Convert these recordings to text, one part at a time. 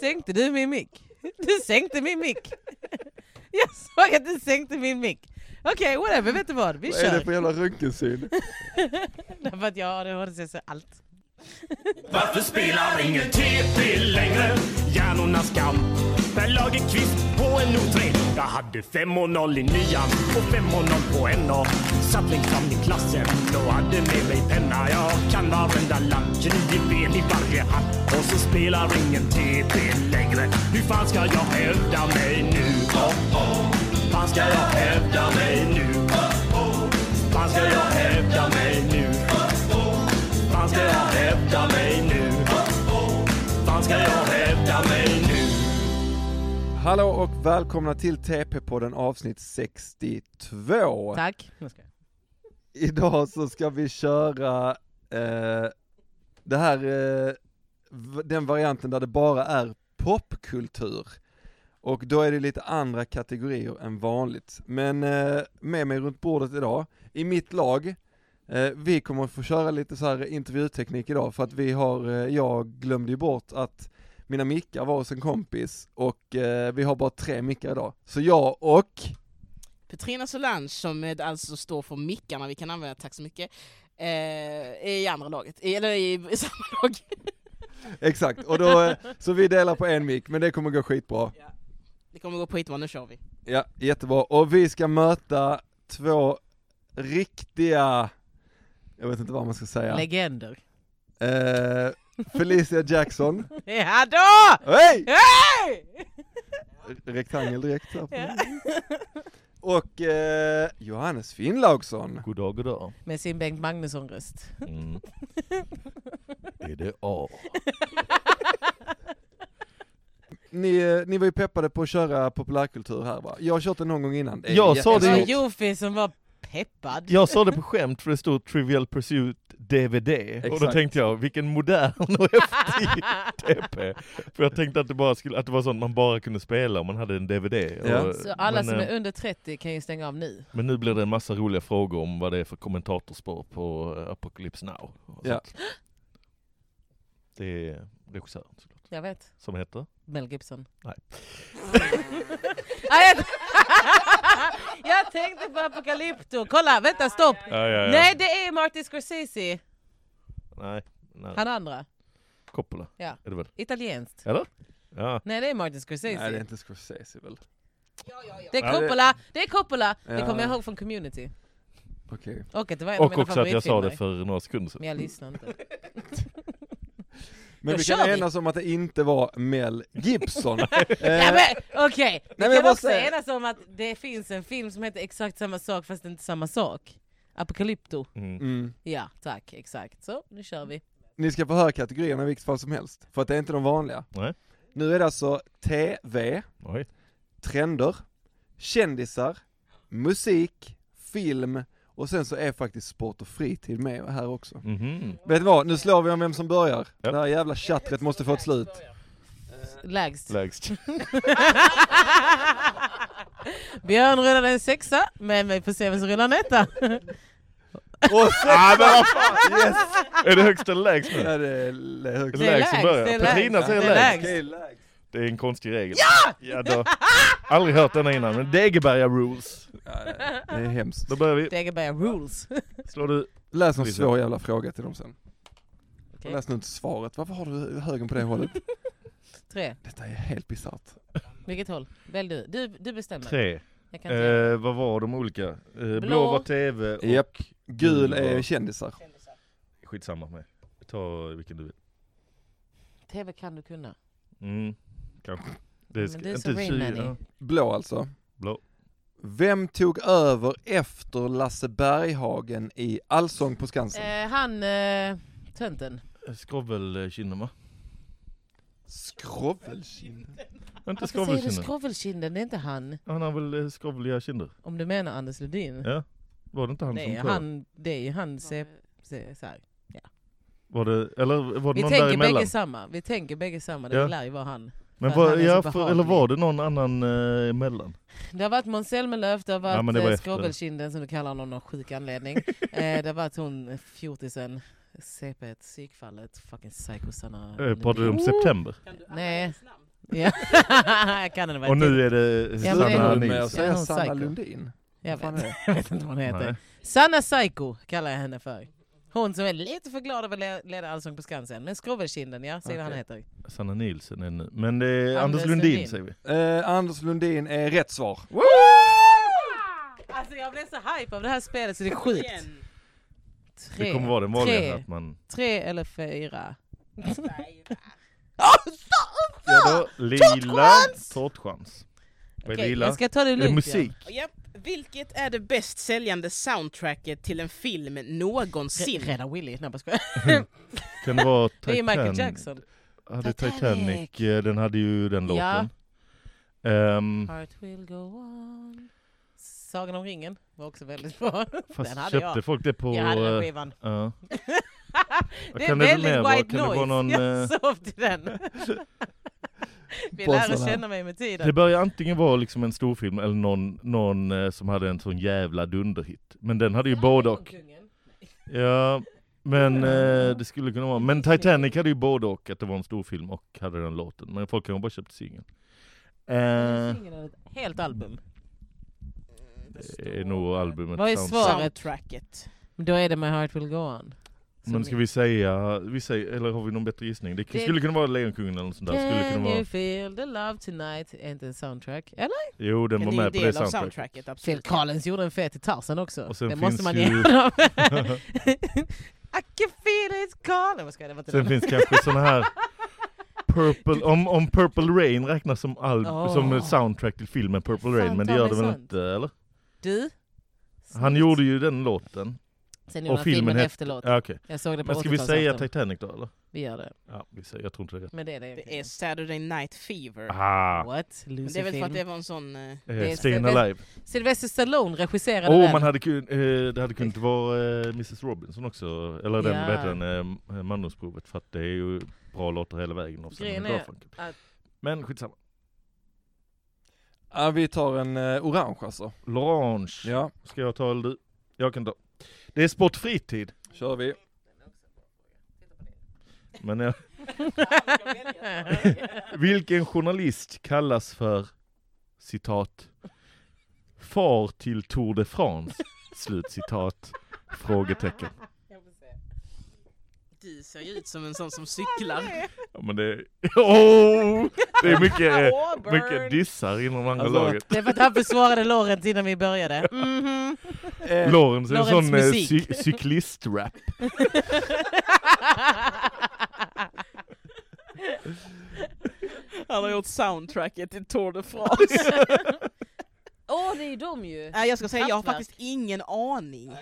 Sänkte du min mick? Du sänkte min mick! Jag såg att du sänkte min mick! Okej, whatever, vet du vad? Vi Vad är det kör! för jävla röntgensyn? Därför att jag har ADHD så jag ser allt. Varför spelar ingen TP längre? Hjärnornas kamp. Per Lagerkvist på en O3. Jag hade 5 och 0 i nian och 5 och 0 på NA. Satt längst fram i klassen och hade med mig penna. Jag kan varenda land, 29 ben i varje hatt. Och så spelar ingen TP längre. Hur fan ska jag hävda mig nu? Oh, oh. Fan ska jag hävda mig nu? Oh, oh. Fan ska jag hävda mig nu? Oh, oh. Fan ska jag hävda mig nu? Fan ska jag hävda mig nu? Hallå och välkomna till TP-podden avsnitt 62. Tack. Nu ska jag. Idag så ska vi köra eh, det här, eh, v- den varianten där det bara är popkultur. Och då är det lite andra kategorier än vanligt. Men eh, med mig runt bordet idag, i mitt lag, eh, vi kommer få köra lite så här intervjuteknik idag för att vi har, eh, jag glömde ju bort att mina mickar var hos en kompis och eh, vi har bara tre mickar idag. Så jag och Petrina Solange som eh, alltså står för mickarna vi kan använda, tack så mycket, eh, är i andra laget, eller i, i samma lag. Exakt, och då, eh, så vi delar på en mick, men det kommer gå skitbra. Det kommer gå skitbra, nu kör vi. Ja, jättebra. Och vi ska möta två riktiga, jag vet inte vad man ska säga. Legender. Eh, Felicia Jackson. Ja då! Hej! Hej! Rektangel direkt här på Och eh, Johannes Finnlaugsson. God dag, god dag. Med sin Bengt Magnusson-röst. Mm. Är det A? Ni, eh, ni var ju peppade på att köra populärkultur här va? Jag har kört det någon gång innan. Det är Jag sa Det Det är var ju- Jofi som var peppad. Jag sa det på skämt för det stod Trivial Pursuit DVD, och Exakt. då tänkte jag vilken modern och häftig TP. För jag tänkte att det, bara skulle, att det var sånt man bara kunde spela om man hade en DVD. Ja. Och, Så alla men, som eh, är under 30 kan ju stänga av nu. men nu blir det en massa roliga frågor om vad det är för kommentatorspår på eh, Apocalypse Now. och Ja. sånt. Det är regissören såklart, Jag vet. som heter? Mel Gibson. Nej. Nej, jag- jag tänkte på Apocalypto. Kolla, vänta, stopp. Ja, ja, ja. Nej, det är Martin Scorsese. Nej, nej. Han andra. Coppola. Ja. Är det väl? Italienskt. Eller? Ja. Nej, det är Martin Scorsese. Nej det det, är är... inte Scorsese väl? Ja, det- Coppola. Det är Coppola. Det Ja. kommer jag ihåg från Community. Okej. Och att det var en av Och mina också att jag sa det favoritfilmer. för några sekunder sedan. Men jag lyssnade Eh. inte. Men Då vi kör kan vi. enas om att det inte var Mel Gibson. Ja, Eh, men, Okej, men vi jag kan bara också säger- enas om att det finns en film som heter exakt samma sak fast det är inte samma sak. Apocalypto. Mm. mm. Ja, tack. Exakt. Så, nu kör vi. Ni ska få höra kategorierna i vilket fall som helst, för att det är inte de vanliga. Nej. Nu är det alltså TV, Oj. trender, kändisar, musik, film och sen så är faktiskt sport och fritid med här också. Mhm. Vet ni vad, nu slår vi om vem som börjar. Ja. Det här jävla chattret måste få ett slut. Lägst. Lägst. Björn rullade en sexa, men vi får se vem som rullar en etta. Och ah, men vad fan, yes! fan, är det högst eller lägst nu? Ja, det är l- Är högst. det Det är lägst lägst, som börjar? det är lägst. Petrina säger Det är lägst. lägst. Okej, lägst. Det är en konstig regel. Ja! ja då. Aldrig hört denna innan, men Degeberga rules. Ja, det det är hemskt. Då börjar vi. Degeberga rules. Slår du? Läs någon Lisa. svår jävla fråga till dem sen. Okej. Läs nu inte svaret, varför har du högen på det hållet? Tre. Detta är helt bisarrt. Vilket håll? Välj du. Du, du bestämmer. Tre. Jag kan inte göra det. Eh, vad var de olika? Eh, blå. Blå. var tv och Japp. Gul Gul är var- kändisar. skitsamma för mig. Ta vilken du vill. TV kan du kunna. Mm, kanske. Men Det ska, du är så inte Rain Man-y. tjugo. Blå alltså. Blå. Vem tog över efter Lasse Berghagen i Allsång på Skansen? Eh, han, eh, tönten. Skrovelkinden va? Skrovelkind. Inte Varför säger du skrovelkinden? skrovelkinden? Det är inte han. han har väl eh, skrovliga kinder? Om du menar Anders Lundin. Ja. Var det inte han Nej, som klår? han, det är ju han. Se, se, så här. Var det, eller var det Vi någon tänker däremellan? bägge samma. Vi tänker bägge samma. Det Ja. lär ju vara han. Men För att var, han är ja, så för, eller behaglig. var det någon annan eh, emellan? Det har varit Måns Zelmerlöw, det har Ja, men varit det var eh, efter. skrovelkinden som du kallar honom av någon sjuk anledning. eh, det har varit hon fjortisen, CP, psykfallet, fucking psycho Sanna Eh, pratade du om Lundin. september? Nej, Ja. Jag kan den Och nu är det Ja, men- Sanna Hon med att Nilsson. säga Ja, hon Sanna psycho. Lundin. Jag Vad fan vet, är det? jag vet inte vad hon heter. Nej. Sanna Psycho kallar jag henne för. Hon som är lite för glad över att le- leda Allsång på Skansen. Men Skrovelkinden, ja. Säger vad han heter. Sanna Nilsson är nu. Men det är Anders, Anders Lundin, Lundin. säger vi. Eh, Anders Lundin är rätt svar. Alltså jag blev så hype av det här spelet så det är sjukt. Igen. Tre, det kommer vara den vanliga tre, att man... tre eller fyra. alltså! Ja, då, lila, Tårtchans! tårtchans. Vad är Okej, lila? jag ska ta det Är det lugnt. musik? Japp. Vilket är det bäst säljande soundtracket till en film någonsin? Sim. Rädda Willy. Nej, jag skojar. Kan det vara Det är ju Titan... Michael Jackson. Hade Titanic. Titanic, eh, den hade ju Ja. den låten. Ehm, Heart will go on. Sagan om ringen var också väldigt bra. fast den hade köpte jag. folk det på... Jag hade den eh, skivan. ja. Det är Kan det bli väldigt mer? Vad- white kan det noise. vara någon, eh, jag sov till den. Vi lär oss Bossarna. känna mig med Det tiden. bör ju antingen vara liksom en storfilm eller någon, någon eh, som hade en sån jävla dunderhit. Men den hade ju både och. Ja, men eh, det skulle kunna vara. Men Titanic hade ju både och, att det var en storfilm och hade den låten. Men folk kanske bara köpte singeln. Eh, det Ingen av ett Helt album. är nog albumet. Vad är sound- svaret? Soundtracket. Men Då är det My Heart Will Go On. Som Men ska vi säga, vi säger, eller har vi någon bättre gissning? Det, Det- skulle kunna vara Lejonkungen eller något sånt där. Skulle Can kunna you vara, feel the love tonight? Är inte en soundtrack? Eller? jo, den Men var det är ju med på det del av soundtracket. soundtracket, Phil absolut. Collins gjorde en fet till Tarzan också. Och sen det finns måste man ju- ge honom. I can feel it calling. Vad ska jag, det var inte Sen den. finns kanske såna här Purple, om, om Purple Rain räknas som, all, Åh. som ett soundtrack till filmen Purple Fan, Rain, men det ta gör mig det väl sant. inte eller? Du? Han gjorde ju den låten. Sen och gjorde han filmen filmen hette- efteråt. Ja, okej. Jag såg det på Men ska vi säga 80-talsafton. Titanic då eller? Vi gör det. Ja, vi säger, jag tror inte det är rätt. Men det är det. Det är Saturday Night Fever. Ah, What? Men det är väl för Lucy-film. att det var en sån... eh, Det är- eh, Stayin' Alive. Sylvester Stallone regisserade Åh, den. Oh, man hade kun, eh, det hade kunnat vara eh, Mrs Robinson också, eller den, Ja. vad heter den, eh, Mandomsprovet, för att det är ju bra låtar hela vägen. Och Grejen sen är Garfunkel. att- Men skitsamma. Ja, vi tar en eh, orange alltså. Lorange, Ja, ska jag ta eller du? Jag kan ta. Det är Sport Fritid. kör vi. Men jag... Vilken journalist kallas för citat far till Tour de France? Slut citat. Frågetecken. Du ser ju ut som en sån som cyklar. Ja, men det, oh, det är mycket, eh, mycket dissar inom andra Alltså- laget. Det är för att han försvarade Lorentz innan vi började. Mm-hmm. Mhm. Eh, Lorentz är en Lorentz sån eh, musik. cy- cyklist-rap. Han har gjort soundtracket till Tour de France. Åh, det är de ju! Nej, jag ska säga, jag har Kraftwerk. faktiskt ingen aning.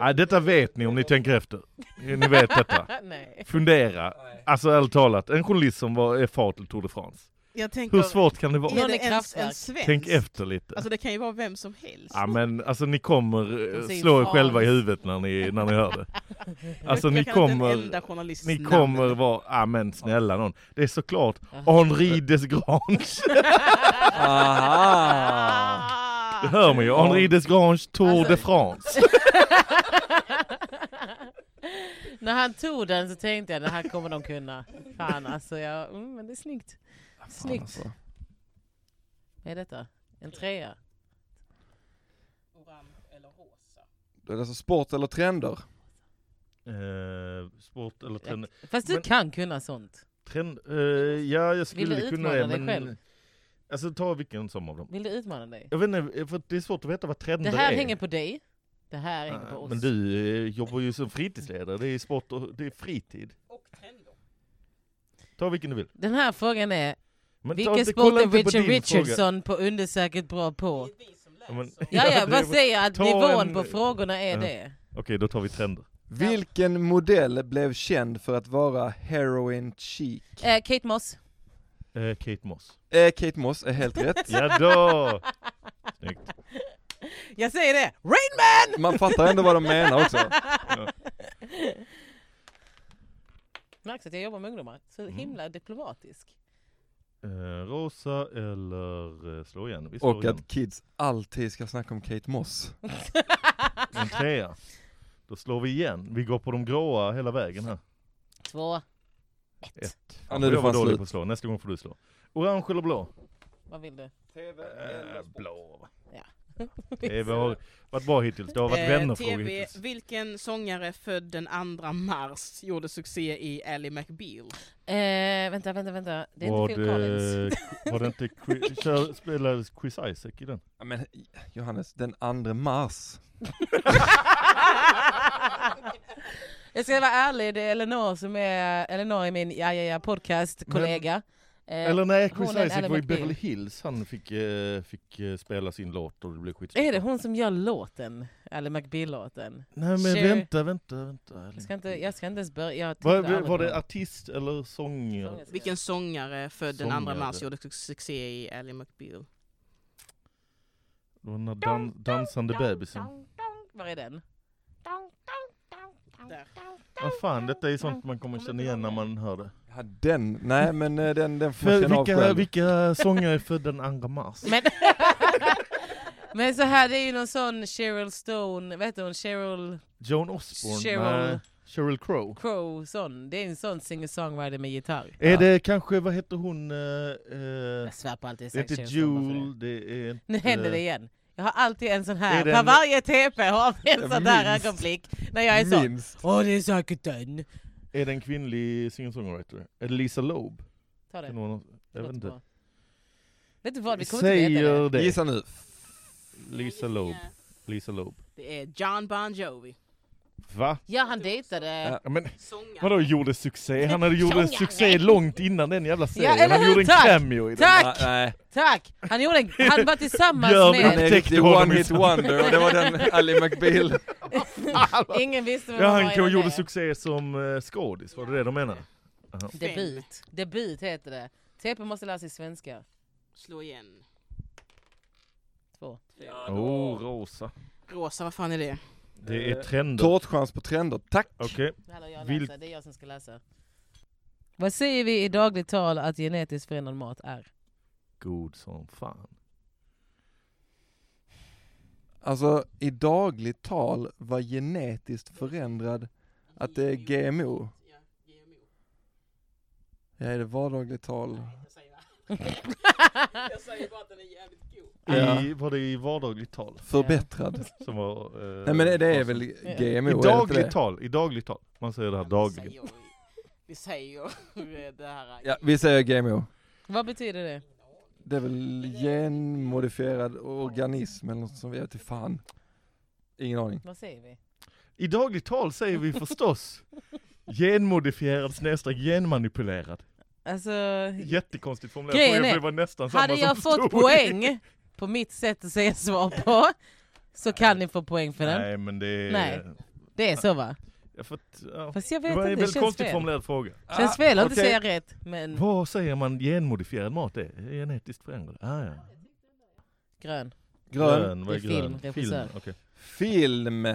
Nej, detta vet ni om ni tänker efter. Eh, Ni vet detta. Nej. Fundera. Alltså ärligt talat, en journalist som var, är far till Tour de France. Jag tänker, Hur svårt kan det vara? är Någon det är ens Kraftwerk. en svensk? Tänk efter lite. Alltså det kan ju vara vem som helst. Ja men alltså ni kommer eh, säger slå er fan. själva i huvudet när ni, när ni hör det. Alltså jag ni kan inte en kommer, enda journalists ni namn. kommer vara, ja men snälla någon. Det är såklart Jaha. Henri Desgrange. Aha! Det hör man ju, Henri Desgrange Tour Alltså- de France. När han tog den så tänkte jag det här kommer de kunna. Fan alltså, jag, mm, men det är snyggt. Snyggt. Alltså. Vad är detta? En trea? Det är alltså sport eller trender. Eh, sport eller trend? Fast du Men- kan kunna sånt. trend eh, ja jag Vill du skulle kunna utmana det dig men... själv? Alltså ta vilken som av dem. Vill du utmana dig? Jag vet inte, för det är svårt att veta vad Det trender här är. hänger på dig. Det här hänger på Nej, oss. Men du eh, jobbar ju som fritidsledare, det är sport och det är fritid. Ta vilken du vill. Den här frågan är, Men ta vilken inte- sport kolla är inte på Richard din fråga. Richardson på undersäkert bra på? Ja, men- Ja, Ja, jag det bara är- säger att ta nivån en- på frågorna är Ja. det. Okej, då tar vi trender. Vilken modell blev känd för att vara heroin chic? Eh, Kate Moss. Eh, Kate Moss. Eh, Kate Moss är helt rätt. Ja då! Snyggt. Jag säger det! Rain Man! Man fattar ändå vad de menar också. Märks att jag jobbar med ungdomar. Så Mm. himla diplomatisk. Eh, rosa eller eh, slå igen? Vi slår Och igen. att kids alltid ska snacka om Kate Moss. En trea. Då slår vi igen. Vi går på de gråa hela vägen här. Två. Ett. Ett. Ja, nu är det jag var fan dålig slut. på att slå, nästa gång får du slå. Orange eller blå? Vad vill du? TV Eh, blå. va? Ja. TV har varit bra hittills, det har varit Eh, vännerfrågor TV, hittills. vilken sångare född den 2 mars gjorde succé i Ally McBeal? Eh, vänta, vänta, vänta. Det är var, inte Phil Collins. det, var det inte Qui- kör- spelades Chris Isaac i den? Ja, men Johannes, den 2 mars. jag ska vara ärlig, det är Elinor som är, Elinor är min ja, ja, ja, podcastkollega. Eh, Eller nej, hon Chris är en Isaac Ally var i McBeal. Beverly Hills, han fick, eh, fick eh, spela sin låt och det blev skit. Är det hon som gör låten? Eller McBeal-låten? Nej men Sherry- vänta, vänta, vänta. Jag ska inte, jag ska inte ens börja. Jag tittar Var, aldrig var på det den. artist eller sångare? Sångare. Vilken sångare född den 2 Sångare. mars gjorde succé i Ally McBeal? Det var den här dan- dansande bebisen. Var är den? Där. Vad fan, detta är sånt man kommer känna igen när man hör det. Ja, den, nej men eh, den, den får man Men känna av vilka, själv. vilka sångare är födda den 2 mars? Men, men så här, det är ju någon sån Cheryl Stone, vad heter hon? Cheryl Joan Osborne? Sheryl. Nej, Sheryl Crow. Crow, sån. Det är en sån singer-songwriter med gitarr. Är det kanske, vad heter hon? eh, eh, Jag svär på alltid det är sagt inte Cheryl Stone bara för det. Jule, det är inte... Nu händer det igen. Jag har alltid en sån Är här, det på en- varje TP har vi en Jag sån där minns. ögonblick när jag är så. Minst. Åh det är säkert den. Är det en kvinnlig singer-songwriter? Är det Lisa Loeb? Ta det. Kan någon, jag vet Låter inte. bra. Vet du vad, vi kommer inte veta Säger det. det. Gissa nu. Lisa Loeb. Lisa Loeb. Det är John Bon Jovi. Va? Ja han dejtade. Ja, Men Sångare. vadå gjorde succé? Han hade gjorde Sångare. succé långt innan den jävla serien. eller han hur? gjorde en Tack! cameo i den. Nej, Tack! nej. Tack! Han, gjorde en, han var tillsammans Gör vi Han med... är Upptäckte riktig honom one i hit stan. wonder och det var den Ally McBeal. Ingen visste vem Ja, han han var kan- innan gjorde det. succé som eh, skådis, var det det de menade? Debut. Debut heter det. TP måste lära sig svenska. Slå igen. Två. Oh, rosa. Rosa, vad fan är det? Det Eh, är trender. Tårtchans på trender, tack! Okej, Det här lär jag Vil- läsa, det är jag som ska läsa. Vad säger vi i dagligt tal att genetiskt förändrad mat är? god som fan. Alltså i dagligt tal var genetiskt förändrad att det är GMO. Ja, är det vardagligt tal? Jag säger bara att den är jävligt god. I, var det i vardagligt tal? Förbättrad? Som var, eh, Nej men det är frasen? väl Ja. GMO? I är det inte dagligt det? tal, i dagligt tal. Man säger det här dagligen. Vi säger ju det här. Ja, vi säger GMO. Vad betyder det? Det är väl genmodifierad organism eller något som vi vet inte fan. Ingen aning. Vad säger vi? I dagligt tal säger vi förstås genmodifierad snedstreck genmanipulerad. Alltså, Jättekonstigt formulerat, Grejen fråga, är, för det var nästan samma hade som jag fått stod. poäng på mitt sätt att säga svar på så kan ni få poäng för den. Nej men det är... Nej. Det är så va? Jag fått, ja. Fast jag Det vet var inte, en det väldigt känns konstigt fel. formulerad fråga. Känns fel att inte okej. säga rätt. Men Vad säger man genmodifierad mat är? Genetiskt förändrad? Ah, ja. grön. Grön. vad är Det är film, grön? regissör. okej. Film.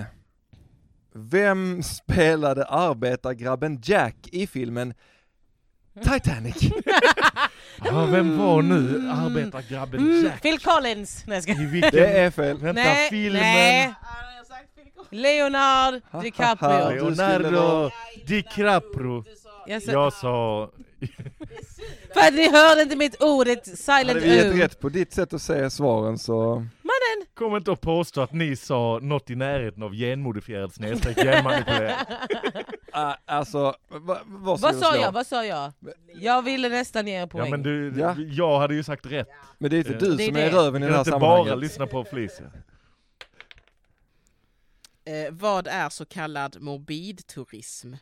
Vem spelade arbetargrabben Jack i filmen Titanic? Ah, vem var nu arbetargrabben Mm, Jack? Phil Collins! Nej jag skojar. I Det vilken... är fel. Vänta, Nej, filmen... nej. Leonard ha, ha. DiCaprio. Leonardo DiCaprio. Jag sa, Jag sa... För att ni hörde inte mitt ord, ett Hade silent vi gett U. rätt på ditt sätt att säga svaren så... Mannen! Kom inte och påstå att ni sa något i närheten av genmodifierad snedstreck genmanipulerad. Ah, alltså, va, vad ska Vad vi sa slå? jag? Vad sa jag? Jag ville nästan ge er Ja poäng. men du, Ja. jag hade ju sagt rätt. Men det är inte Eh, du Det är som det. är röven i Jag det kan här inte bara sammanhanget. lyssna på Felicia. Eh, vad är så kallad morbidturism?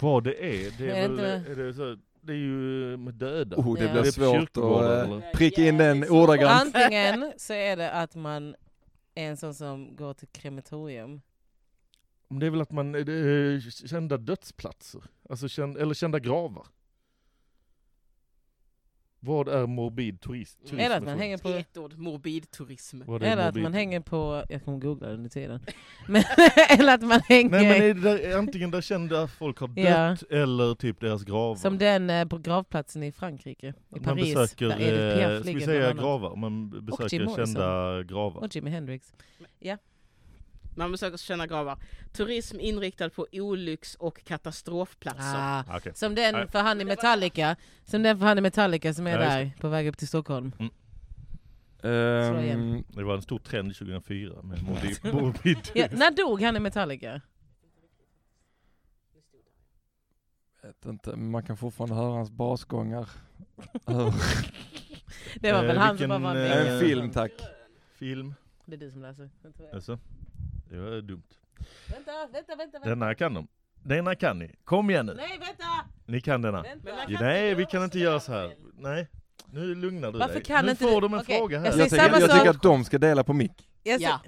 Vad det är, det Är är, det väl, inte- är det, så, det är ju med döda. Oh, det Ja. blir Det är svårt kyrkogårdar, att eller? eh, pricka in den ordagrant. Antingen så är det att man är en sån som går till krematorium. Men det är väl att man, det är kända dödsplatser, alltså känd, eller kända gravar. Vad är morbid turism? turism Eller att för man något? hänger på... Ett ord, morbidturism. Vad Mm. är Eller att morbid? man hänger på... Jag kommer googla det under tiden. Men, eller att man hänger... Nej men är det där, antingen där kända folk har Ja. dött eller typ deras gravar. Som den eh, på gravplatsen i Frankrike, i man Paris, besöker, där Edith eh, Piaf ska vi ligger säga bland annat. gravar? Man b- Jim besöker Morrison. kända gravar. Och Jimi Hendrix. Man besöker kända gravar. Turism inriktad på olycks och katastrofplatser. Ah, Ah, okej. som Nej. den för han i Metallica, som den för han i Metallica som är Ja, just där på väg upp till Stockholm. Slå Ehm, igen. Det var en stor trend 2004 med morbi- morbid Ja, när dog han i Metallica? vet inte, men man kan fortfarande höra hans basgångar. Över- Det var Eh, väl han som vilken, bara var eh, en film tack. film. Det är du som läser. Jag tror jag. Alltså, det var dumt. Vänta, vänta, vänta. vänta. Denna kan de. Denna kan ni. Kom igen nu. Nej, vänta! Ni kan denna. vänta. kan Nej, inte vi göra kan inte sådär, göra så här. Daniel. Nej, nu lugnar du Varför dig. kan nu inte får du- de en Okej, fråga jag här. ser Jag samma tycker, jag sak. tycker att de ska dela på mick. Jag ser- Ja.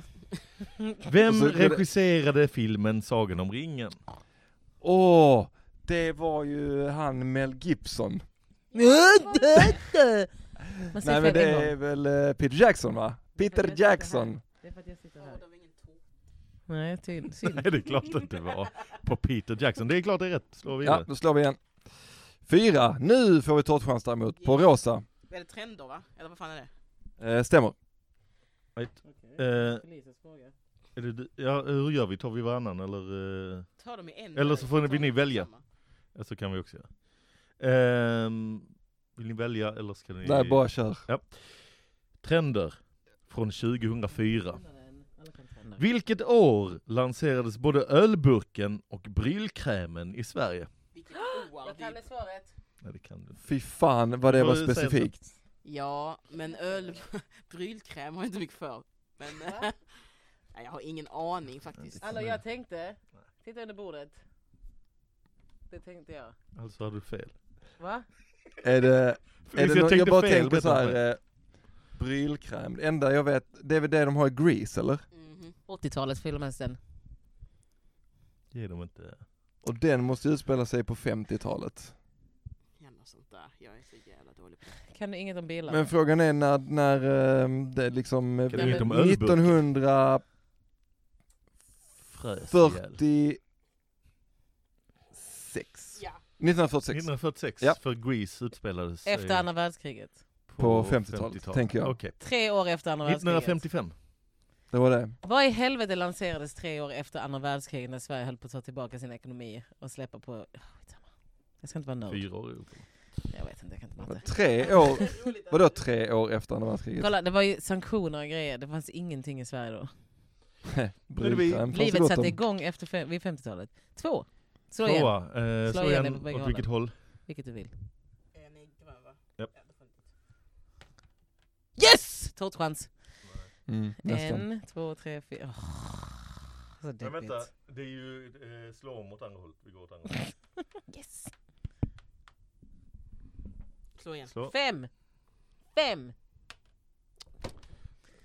Vem Och så- regisserade filmen Sagan om ringen? Åh, det var ju han Mel Gibson. Man ser Nej men fel det en är gång. väl eh, Peter Jackson va? Peter Jackson. Det är för att jag sitter här. Nej, tydligt. Nej, det är klart det inte var. På Peter Jackson. Det är klart det är rätt. Slå Ja, vidare. då slår vi igen. Fyra, nu får vi tårtchans däremot, på rosa. Är det trender va? Eller vad fan är det? Eh, stämmer. Right. Eh, är det, du- ja, hur gör vi? Tar vi varannan eller? Eh, Ta dem i en. Eller så får ni- vill ni Ta dem välja. samma. ja, så kan vi också göra. Ehm, vill ni välja eller ska ni? Nej, bara kör. Trender från 2004. Vilket år lanserades både ölburken och brylkrämen i Sverige? Vilket oarv. det- svaret. Nej, det kan du inte. Fy fan vad det Får var du säga specifikt. Ja, men öl... Brylkräm har jag inte mycket för. Men... Nej, jag har ingen aning faktiskt. Alltså jag tänkte, titta under bordet. Det tänkte jag. Alltså hade du fel. Va? Är det, är Felicia det nå- jag tänkte bara fel, tänker vet så jag inte. här, eh, brylkräm. Det enda jag vet, det är väl det de har i Grease eller? Mhm. 80-talets filmen sen. Ge dem inte. Och den måste ju utspela sig på 50-talet. Jävla sånt där. Jag är så jävla dålig på det. Kan du inget om bilar? Men frågan är när, när eh, det är liksom eh, Kan du inte om ölburken? 1940 Frös ihjäl. 6. Ja. 1946. 1946, Ja. för Grease utspelades sig Efter andra världskriget. På 50-talet, tänker jag. Okej. Tre år efter andra världskriget. 1955. Det var det. Vad i helvete lanserades tre år efter andra världskriget när Sverige höll på att ta tillbaka sin ekonomi och släppa på... Ah, skitsamma. Jag ska inte vara nörd. Fyra år upp. Jag vet inte, jag kan inte matte. Tre år, vadå tre år efter andra världskriget? Kolla, det var ju sanktioner och grejer. Det fanns ingenting i Sverige då. Brylkräm fanns det Livet gott satte om. igång efter fem, vid 50-talet. Två. Slå igen, Tvåa. Eh, Slå slå igen igen på bägge åt vilket håll? vilket du vill. Är ni grön va? Japp. Yes! Tårtchans. Mm, nästan. En, två, tre, fyra. Åh, så deppigt. det är ju eh, slå om åt andra hållet. Vi går åt andra hållet. Yes! Slå igen. Slå. Fem! Fem!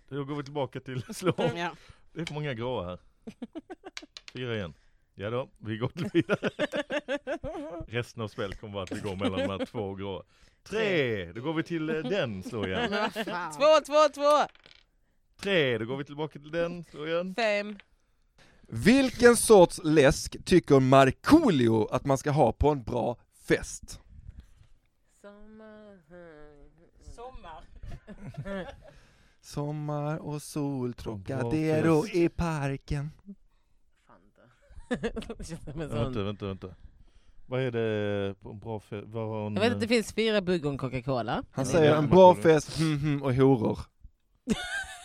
Då går vi tillbaka till slå. Ja. Det är för många gråa här. Fyra igen. Ja då, vi går vidare. Resten av spelet kommer vara att vi går mellan de här två gråa. Tre! Då går vi till eh, den, slå igen. Men vad fan. Två, två, två! Tre! Då går vi tillbaka till den, slå igen. Fem! Vilken sorts läsk tycker Markoolio att man ska ha på en bra fest? Sommar... Sommar. Sommar och sol, Trocadero i parken. Fan då. Det känns som en sån- Vänta, vänta, vänta. Vad är det på en bra fe- vad har hon, eh, Jag vet att det finns fyra bugg och en Coca-Cola. Han Ja, säger det är en bra Markoolio. fest, hm, hm, och horor.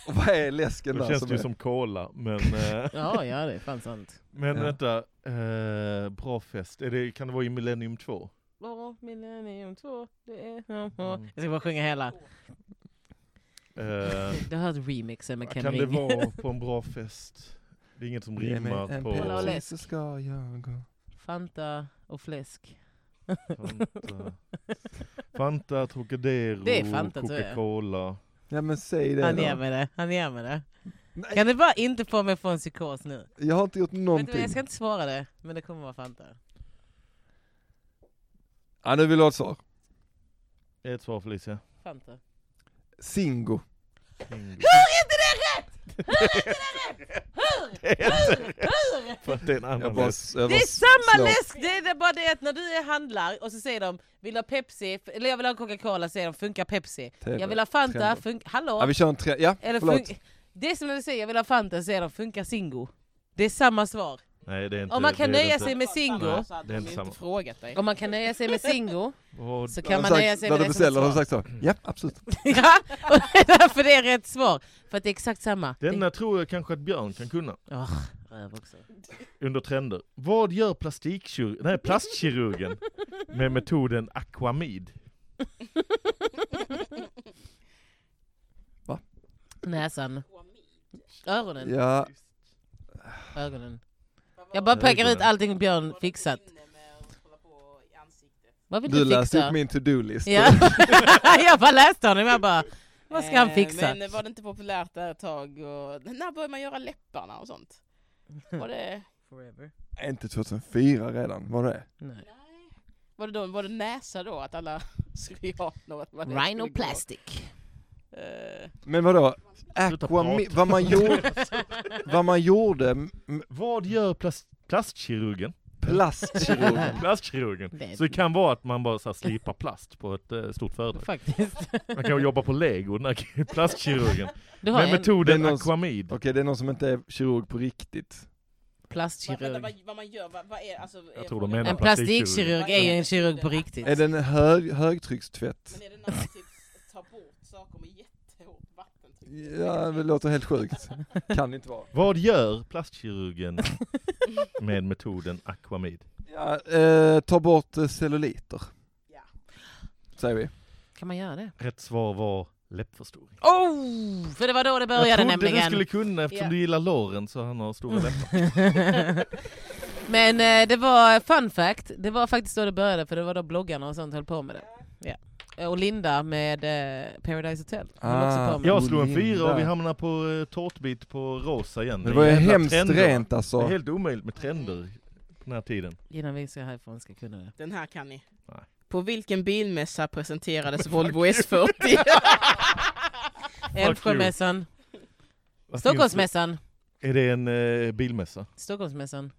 Och vad är läsken Då där känns som det ju är? som cola, men, eh, Ja, ja det är fan sant. men Ja. vänta. Eh, bra fest, är det, kan det vara i Millennium 2? Åh, millennium två, det är... Ja, ja. Jag ska bara sjunga hela. Eh, Du har hört remixen med vad Ken kan det Ring. vara på en bra fest? Det är inget som Ge mig rimmar en på... Hallå, pepsi Läsk. så ska jag gå. Fanta och fläsk. Fanta, Fanta Trocadero, Det är Fanta, tror jag. Coca-Cola. Ja men säg det Han då. ger mig det, han ger mig det. Nej. Kan du bara inte få mig att få en psykos nu? Jag har inte gjort Vet du, vad, någonting. jag ska inte svara det, men det kommer vara Fanta. Ja nu vill jag ha ett svar. Ett svar Felicia. Fanta. Singo. Bingo. Hur är inte det rätt? Hur är inte det rätt? Hur? Hur? Hur? För att det är en Jag annan bara, läsk. jag Det bara är samma slår. läsk! Det är det- bara det att när du är handlar och så säger de Vill du ha Pepsi? Eller jag vill ha Coca-Cola, säger de funkar Pepsi. Tv. Jag vill ha Fanta, Trender. funkar... Ja Hallå? vi kör en tre, ja Eller förlåt. fun- det är som när du säger jag vill ha Fanta, säger de funkar Singo. Det är samma svar. Nej det är inte Om man kan det är nöja inte. sig med Singo, Så hade det är de inte ju samma. inte frågat dig. om man kan nöja sig med Singo, Vad- så Har kan de man sagt- nöja sig När med du det som ett beställer har de svar. sagt så. Mm. Ja, absolut. Ja, och det är därför det är rätt svar. För att det är exakt samma. Denna tror jag kanske att Björn kan kunna, Åh, röv också. under trender. Vad gör plastikkirurgen, nej plastkirurgen, med metoden akvamid? Näsan. Öronen. Ja, Ögonen. Jag bara pekar ut allting Björn fixat. Vad vill du du, läste fixa? upp min to-do-list. Ja. jag bara läste honom, jag bara, vad ska han Eh, fixa? Men var det inte populärt där ett tag? Och... När började man göra läpparna och sånt? Var det, Forever. Är Inte 2004 redan, var det? Nej. var det, då, var det näsa då? Att alla syrianer... att man- Rhinoplastic. Eh, Men vadå? Sluta Aquami- prata. vad, man gjorde, vad man gjorde, m- Vad gör plast, plastkirurgen? plastkirurgen. Plastkirurgen. Det- Så det kan vara att man bara så här slipar plast på ett eh, stort företag. Faktiskt. Man kan ju jobba på lego, den här plastkirurgen. Du har Med en metoden Det är någon- akvamid. Okej, det är någon som inte är kirurg på riktigt. vad, vänta, plastkirurg. vad, vad man gör? Vad, vad är, alltså, är Jag tror frågan- de menar En plastikkirurg. plastikkirurg är ju en kirurg på riktigt. Är det en hög, högtryckstvätt? Men är det när man typ tar bort saker med jättehårt typ? vattentryck? Ja, det låter helt sjukt. Kan inte vara. Vad gör plastkirurgen med metoden akvamid? Ja, eh, ta bort eh, celluliter. Ja. Säger vi. Mm. Kan man göra det? Rätt svar var läppförstoring. Oh! För det var då det jag började trodde nämligen. Mm. du skulle kunna eftersom Ja. du gillar Loren så han har stora läppar. Men eh, det var fun fact, det var faktiskt då det började för det var då bloggarna och sånt höll på med det. Ja. Eh, Och Linda med eh, Paradise Hotel höll också på med Jag slog en Olinda. fyra och vi hamnar på eh, tårtbit på rosa igen. Men det var ju Jävla hemskt trender. rent Det är alltså. helt omöjligt med trender på den här tiden. det. Innan vi ska härifrån ska kunna det. Den här kan ni. Nej. På vilken bilmässa presenterades Volvo S40? Älvsjömässan, Vad finns Stockholmsmässan, det? Är det en eh, bilmässa? Stockholmsmässan.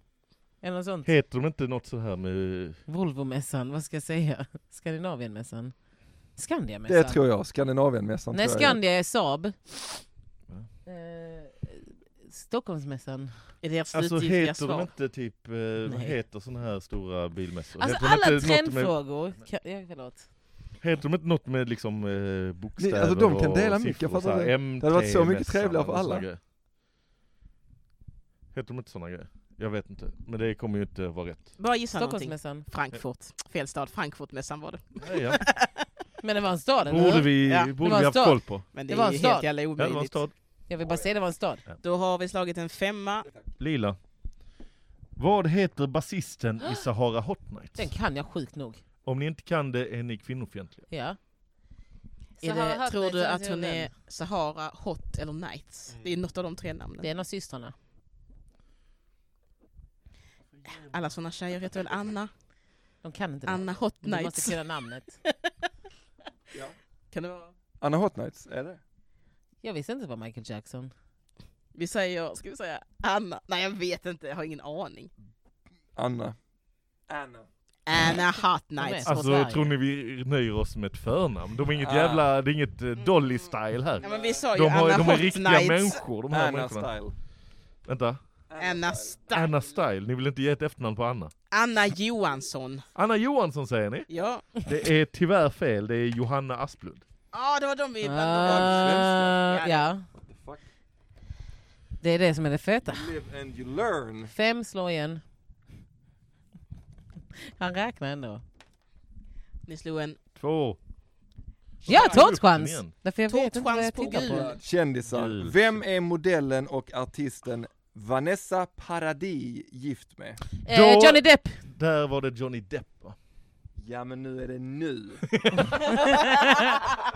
Eller något sånt. Heter de inte något så här med... Volvomässan, vad ska jag säga? Skandinavienmässan? Skandiamässan? Det tror jag, Skandinavienmässan Nej, tror jag. Skandia är Saab. Va? Eh, Stockholmsmässan. Är det ert Alltså slutgiltiga heter de svar? inte typ, eh, vad Nej. heter sådana här stora bilmässor? Alltså heter de alla inte något med- trendfrågor. Kan, ja, förlåt. Heter de inte något med liksom eh, bokstäver Ni- alltså, de kan och dela mycket, siffror? jag fattar så här, det. MT, hade varit så mycket mässan trevligare för eller såna alla. grejer. Heter de inte sådana grejer? Jag vet inte, men det kommer ju inte vara rätt. Bara gissa någonting. Stockholmsmässan. Frankfurt. Fel stad. Frankfurtmässan var det. Nej, ja. Men det var en stad, eller Borde hur? vi, Ja, det borde vi var en haft stad. koll på. Men Det det, var är en ju stad. helt jävla Ja, det var en omöjligt. stad. Jag vill bara säga det var en stad. Då har vi slagit en femma. Lila. Vad heter basisten i Sahara Hot Den Nights? kan jag sjukt nog. Om ni inte kan det är ni kvinnofientliga. Ja. Är Sahara det, Hot tror Nights, du eller att tror hon du är Sahara, Hot eller Nights? Det är något av de tre namnen. Det är en av systrarna. Alla såna tjejer heter väl Anna? De kan inte det. Anna Hot Du måste Nights. kunna namnet. Kan det vara? Anna Hot Nights, är det? Jag visste inte vad Michael Jackson... Vi säger, ska vi säga Anna? Nej jag vet inte, jag har ingen aning. Anna. Anna Hot Alltså, Nights från Alltså Sverige. tror ni vi nöjer oss med ett förnamn? De är inget Ah. jävla, det är inget eh, Dolly-style Mm. Ja, här. men vi sa ju De, har, Anna de är Hot riktiga Nights. människor de här Anna människorna. Style. Vänta. Anna Style. Anna Style, ni vill inte ge ett efternamn på Anna? Anna Johansson. Anna Johansson säger ni? Ja. Det är tyvärr fel, det är Johanna Asplund. Ja, det var de vi Ah, ja. fuck? Det är det som är det feta. Live and you learn. Fem slår igen. Han räknar ändå. Ni slog en Ja, Två. jag upp tårtchans! den igen. Därför jag vet inte vad jag Tårtchans på tittar på. gul. Kändisar. Gud. Vem är modellen och artisten Vanessa Paradis gift med? Eh, Då- Johnny Depp! Där var det Johnny Depp va? Ja men nu är det nu.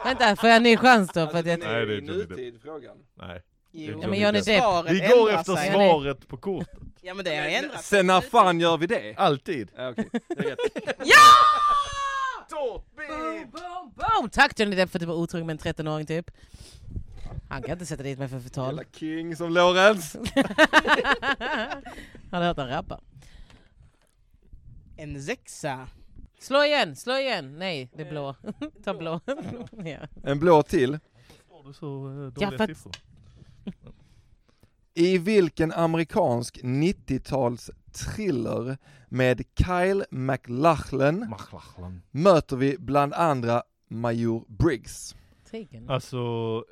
Vänta, får jag en ny chans då? För att jag... Nej, det är Johnny Depp. frågan. Nej. Jo, Ja, men Johnny Depp. Svaret Vi går ändrar efter sig. svaret på kortet. Ja men det har ändrat sig. Sen när fan gör vi det? Alltid. Ja, okej. Boom, boom! Tack Johnny Depp för att du var otrogen med en 13-åring typ. Han kan inte sätta dit mig för förtal. Jävla king som Lorentz. Har du hört han rappa? En sexa. Slå igen, slå igen! Nej, det är blå. Ta blå. ja. En blå till. Har du så eh, Ja, dåliga för att- siffror? I vilken amerikansk 90-tals thriller med Kyle MacLachlan Machlachlan. möter vi bland andra Major Briggs? Taken. Alltså,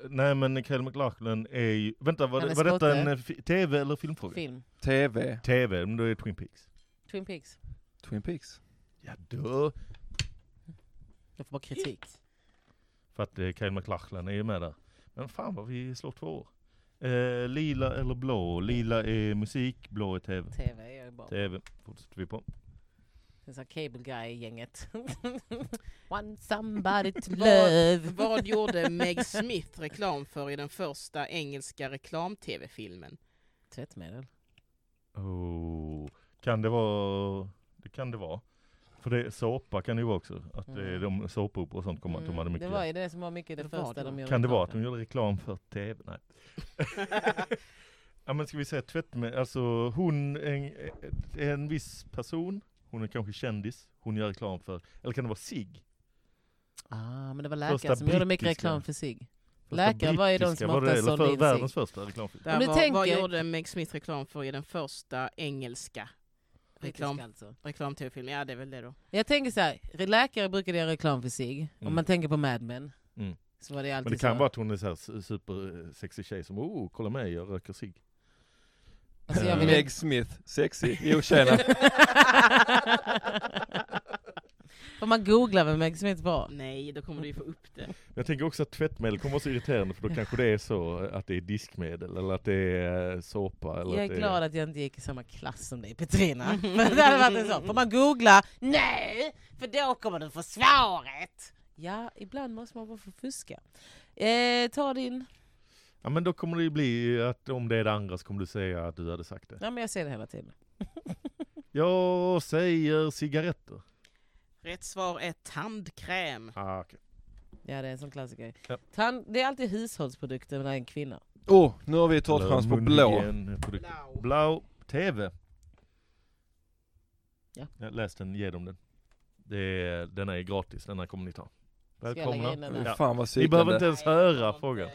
nej men Kael McLachlan är ju... Vänta, var, Han det, är var detta en skotte. eh, fi- TV eller filmfråga? Film. TV, TV, men då är det Twin Peaks. Twin Peaks. Twin Peaks. Ja då. Jag får bara kritik. För att eh, Kael MacLachlan är ju med där. Men fan vad vi slår två år. Eh, lila eller blå? Lila är musik, blå är TV. TV är jag ju bara. TV fortsätter vi på. Det är så här cable guy-gänget. Want somebody to love. Vad gjorde Meg Smith reklam för i den första engelska reklam-tv-filmen? Tvättmedel. Oh. Kan det vara... Det kan det vara. För det, såpa kan det ju vara också. Att det är de såpoperor och sånt kommer att de hade Mm, mycket. det var ju det som var mycket det Det var första det. de gjorde. Kan det vara att de reklam gjorde reklam för TV? Nej. ja men ska vi säga tvättmedel, alltså hon, en, en viss person, hon är kanske kändis, hon gör reklam för, eller kan det vara sig? för. Ah, men det var läkare Första som gjorde mycket brittiska. reklam för sig. Läkare var ju de som var det, oftast eller sålde för, in sig. världens första reklamfilm. Där du var, Vad tänker- gjorde Meg Smith reklam för i den första engelska reklam- Brittiska Alltså. reklam-tv-filmen? Ja, det är väl det då. Jag tänker så här, läkare brukade göra reklam för sig. Mm. Om man tänker på Mad Men. Mm. Så var det alltid Men det kan så. vara att hon är så här su- supersexig tjej som, oh kolla mig jag röker sig. Alltså, jag vill inte- Meg Smith, sexy. Jo tjena. Får man googla vem Meg Smith var? Nej, då kommer du ju få upp det. Jag tänker också att tvättmedel kommer vara så irriterande för då kanske det är så att det är diskmedel eller att det är eh, såpa. Eller Jag är att det glad att jag inte gick i samma klass som dig Petrina. För det hade varit en sån. Får man googla? Nej! För då kommer du få svaret! Ja, ibland måste man bara få fuska. Eh, ta din... Ja men då kommer det ju bli att om det är det andra så kommer du säga att du hade sagt det. Ja, men jag ser det hela tiden. Jag säger cigaretter. Rätt svar är tandkräm. Ah, okay. Ja, det är en sån klassiker. Ja. Tan- det är alltid hushållsprodukter när det är en kvinna. Oh, nu har vi tagit chans på blå. Blau. Blå. TV. Ja. Jag läste den, ge dem den. Det är, den är gratis, den här kommer ni ta. jag lägga in den Välkomna. här? Ja. Fan vad Ni behöver psykande. inte ens höra frågan.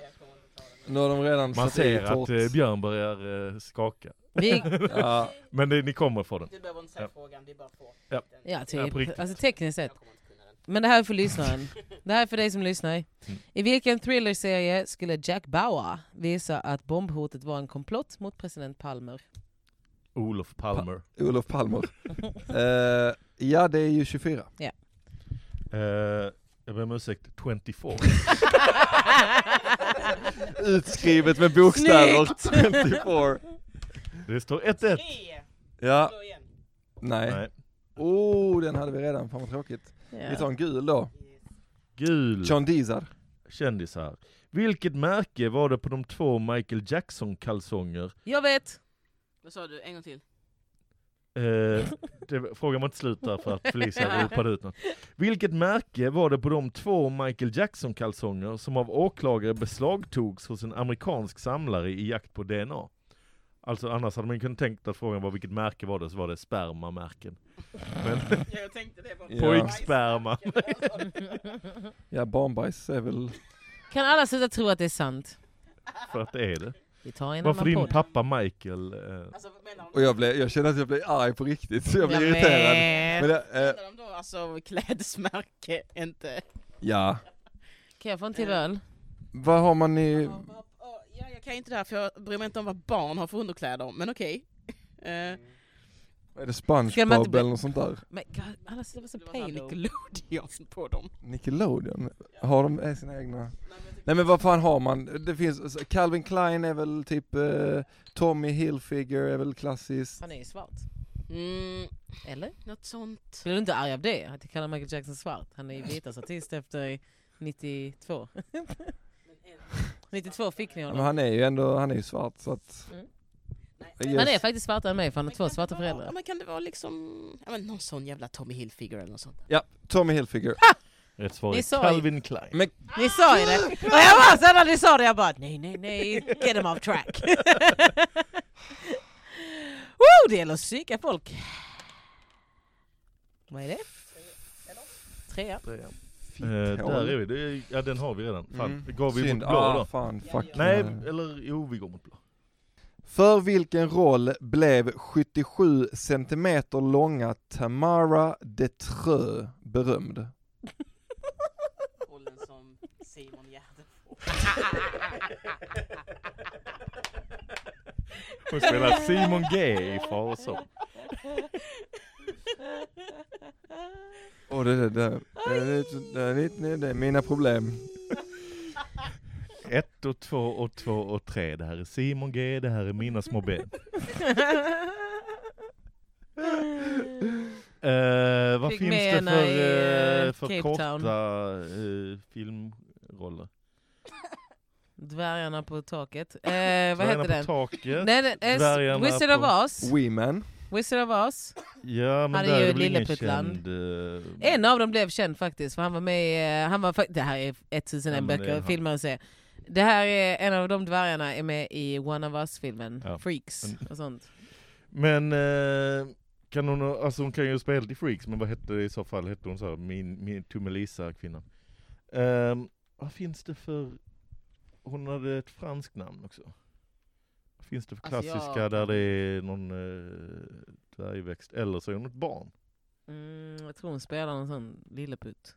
Nu har de redan Man satt i ser att torrt. eh, Björn börjar eh, skaka. Vi, Ja, Men det, ni kommer få den. Du behöver inte säga Ja. frågan, det är bara få. Ja. ja, Ja, på typ. riktigt. Alltså tekniskt sett. Men det här är för lyssnaren. Det här är för dig som lyssnar. Mm. I vilken thrillerserie skulle Jack Bauer visa att bombhotet var en komplott mot president Palmer? Olof Palmer. Olof Palmer. Eh, ja det är ju 24. Eh, jag ber om ursäkt, 24. Utskrivet med bokstäver 24. Det står 1-1. Ja, Slå igen. nej. Nej. Oh, den hade vi redan, fan vad tråkigt. Vi tar en gul då. Gul. John Deezer. kändisar. Vilket märke var det på de två Michael Jackson-kalsonger? Jag vet! Vad sa du? En gång till. Eh, det, frågan var inte slut där för att Felicia ropade ut något. Vilket märke var det på de två Michael Jackson-kalsonger som av åklagare beslagtogs hos en amerikansk samlare i jakt på DNA? Alltså annars hade man ju kunnat tänkt att frågan var vilket märke var det, så var det spermamärken. Men Ja, jag tänkte det. Var Ja. pojksperma. Ja, barnbajs är väl... Kan alla sluta tro att det är sant? För att det är det. Vi tar en Varför annan din podd. pappa Michael... Eh, Alltså, menar Och de, jag, blev, jag kände att jag blev arg på riktigt, så jag blev Jag irriterad. vet. Men det, eh, menar de då alltså klädesmärke, inte... ja. Kan jag få en till öl? Vad har man i... Ja, jag kan inte det här för jag bryr mig inte om vad barn har för underkläder, men okej. Eh, vad Är det Ska man inte Spongebob bli- eller något sånt där? Men God, alla slutar vara så det var såhär pale. Nickelodeon på dem. Nickelodeon? Har de eh, sina egna? Nej men vad fan har man? Det finns, alltså, Calvin Klein är väl typ, eh, Tommy Hilfiger är väl klassiskt. Han är ju svart. Mm, Eller? något sånt. Blir du inte arg av det? Att jag kallar Michael Jackson svart? Han är ju vitast artist efter 92. 92 fick ni Ja, men honom. han är ju ändå, han är ju svart så att... Mm. Yes. Han är faktiskt svartare än mig för han har två svarta Ja, föräldrar. men kan det vara liksom, ja, men någon sån jävla Tommy Hilfiger eller något sånt? Ja, Tommy Hilfiger. Mm. rätt svar Ni är sa ju- Calvin Klein. Men Ni sa ju det! Och jag var så när ni sa det, jag bara nej, nej, nej, get them off track. Woo, det gäller att psyka folk. Vad är det? Trea. Eh, där är vi, det är, ja den har vi redan. Fan, Mm. gav vi Synd. mot blå ah, då? eh, Fan, fuck. Nej, eller jo vi går mot blå. För vilken roll blev 77 centimeter långa Tamara Detreux berömd? Rollen som Simon Gärdenfors. Hon spelar Simon G i Far och son. Åh det, det, det, det, det, det, det, det är mina problem. Ett och två och två och tre. Det här är Simon G, det här är mina små ben. Eh, vad Fick finns med det henne för, i, eh, eh, för Cape korta Town. eh, filmroller? Dvärgarna på taket. Eh, vad Dvärgarna heter den? på taket. Nej, den eh, Dvärgarna Wizard på- of Oz. Women. Wizard of Oz. Ja, men Han är där ju är väl ingen Lilleputtland. känd... eh, En av dem blev känd faktiskt, för han var med i, eh, han var, fa- Det här är 1001 Ja, men det är böcker, han. filmer att se. Det här är en av de dvärgarna är med i One of Us-filmen, Ja. Freaks och sånt. Men eh, kan hon, ha- alltså hon kan ju spela i Freaks, men vad hette det i så fall? Hette hon så här, min, min Tummelisa kvinnan? Ehm, vad finns det för, hon hade ett franskt namn också. Vad finns det för Alltså, klassiska jag- där det är någon eh, dvärgväxt? Eller så är hon ett barn. Mm, jag tror hon spelar någon sån lilleputt.